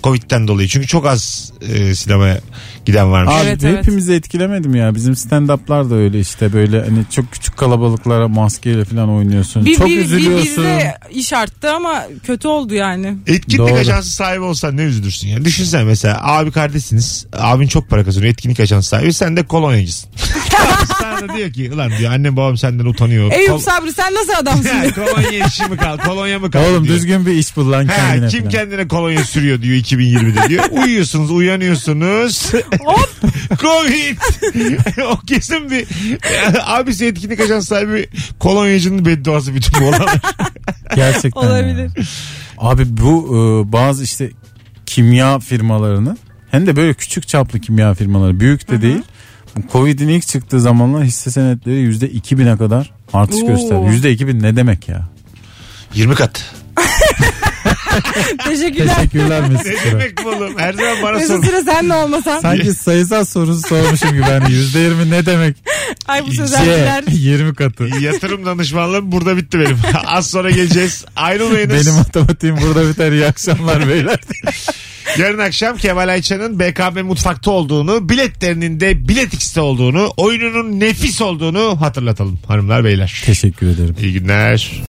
[SPEAKER 2] Covid'den dolayı çünkü çok az e, sinemaya giden varmış.
[SPEAKER 4] Abi
[SPEAKER 3] Evet, evet.
[SPEAKER 4] hepimizi etkilemedim ya. Bizim stand-up'lar da öyle işte böyle hani çok küçük kalabalıklara maskeyle falan oynuyorsun.
[SPEAKER 3] Bir,
[SPEAKER 4] çok
[SPEAKER 3] bir, bir
[SPEAKER 4] üzülüyorsun.
[SPEAKER 3] bizde iş arttı ama kötü oldu yani.
[SPEAKER 2] Etkinlik
[SPEAKER 4] Doğru.
[SPEAKER 2] ajansı sahibi olsan ne üzülürsün yani. Düşünsene mesela abi kardeşsiniz. Abin çok para kazanıyor. Etkinlik ajansı sahibi. Sen de
[SPEAKER 3] (laughs)
[SPEAKER 2] kolonyacısın. Sana da diyor ki ulan diyor annem babam senden utanıyor.
[SPEAKER 3] Eyüp
[SPEAKER 2] Kol-
[SPEAKER 3] Sabri sen nasıl adamsın?
[SPEAKER 2] (laughs) Ya, kolonya işi mi kal? Kolonya mı kal?
[SPEAKER 4] Oğlum
[SPEAKER 2] diyor.
[SPEAKER 4] düzgün bir iş bul lan
[SPEAKER 2] Ha,
[SPEAKER 4] kendine.
[SPEAKER 2] kim
[SPEAKER 4] falan.
[SPEAKER 2] kendine kolonya sürüyor diyor 2020'de
[SPEAKER 4] (laughs)
[SPEAKER 2] diyor. Uyuyorsunuz, uyanıyorsunuz. Hop! Covid! (laughs) o kesin bir abisi etkinlik ajan sahibi kolonyacının bedduası bütün bu olanlar. (laughs)
[SPEAKER 4] Gerçekten. ya.
[SPEAKER 3] Olabilir.
[SPEAKER 4] Abi bu e, bazı işte kimya firmalarını hem de böyle küçük çaplı kimya firmaları büyük de değil. Bu Covid'in ilk çıktığı zamanlar hisse senetleri yüzde 2000'e kadar artış
[SPEAKER 3] Oo.
[SPEAKER 4] gösterdi. Yüzde 2000 ne demek ya?
[SPEAKER 2] 20 kat.
[SPEAKER 3] Teşekkürler.
[SPEAKER 4] Teşekkürler
[SPEAKER 2] Ne
[SPEAKER 4] Mesut. Süre.
[SPEAKER 2] demek bu oğlum? Her zaman bana
[SPEAKER 3] Mesut
[SPEAKER 2] sorun.
[SPEAKER 3] Süre sen de olmasan.
[SPEAKER 4] Sanki sayısal sorusu sormuşum gibi hani yüzde 20 ne demek?
[SPEAKER 3] Ay bu
[SPEAKER 4] C,
[SPEAKER 3] sözler.
[SPEAKER 4] 20 katı.
[SPEAKER 2] Yatırım danışmanlığım burada bitti benim. (laughs) Az sonra geleceğiz. Ayrılmayınız.
[SPEAKER 4] Benim matematiğim burada biter. İyi akşamlar beyler.
[SPEAKER 2] Yarın akşam Kemal Ayça'nın BKM mutfakta olduğunu, biletlerinin de biletikste olduğunu, oyununun nefis olduğunu hatırlatalım hanımlar beyler.
[SPEAKER 4] Teşekkür ederim.
[SPEAKER 2] İyi günler.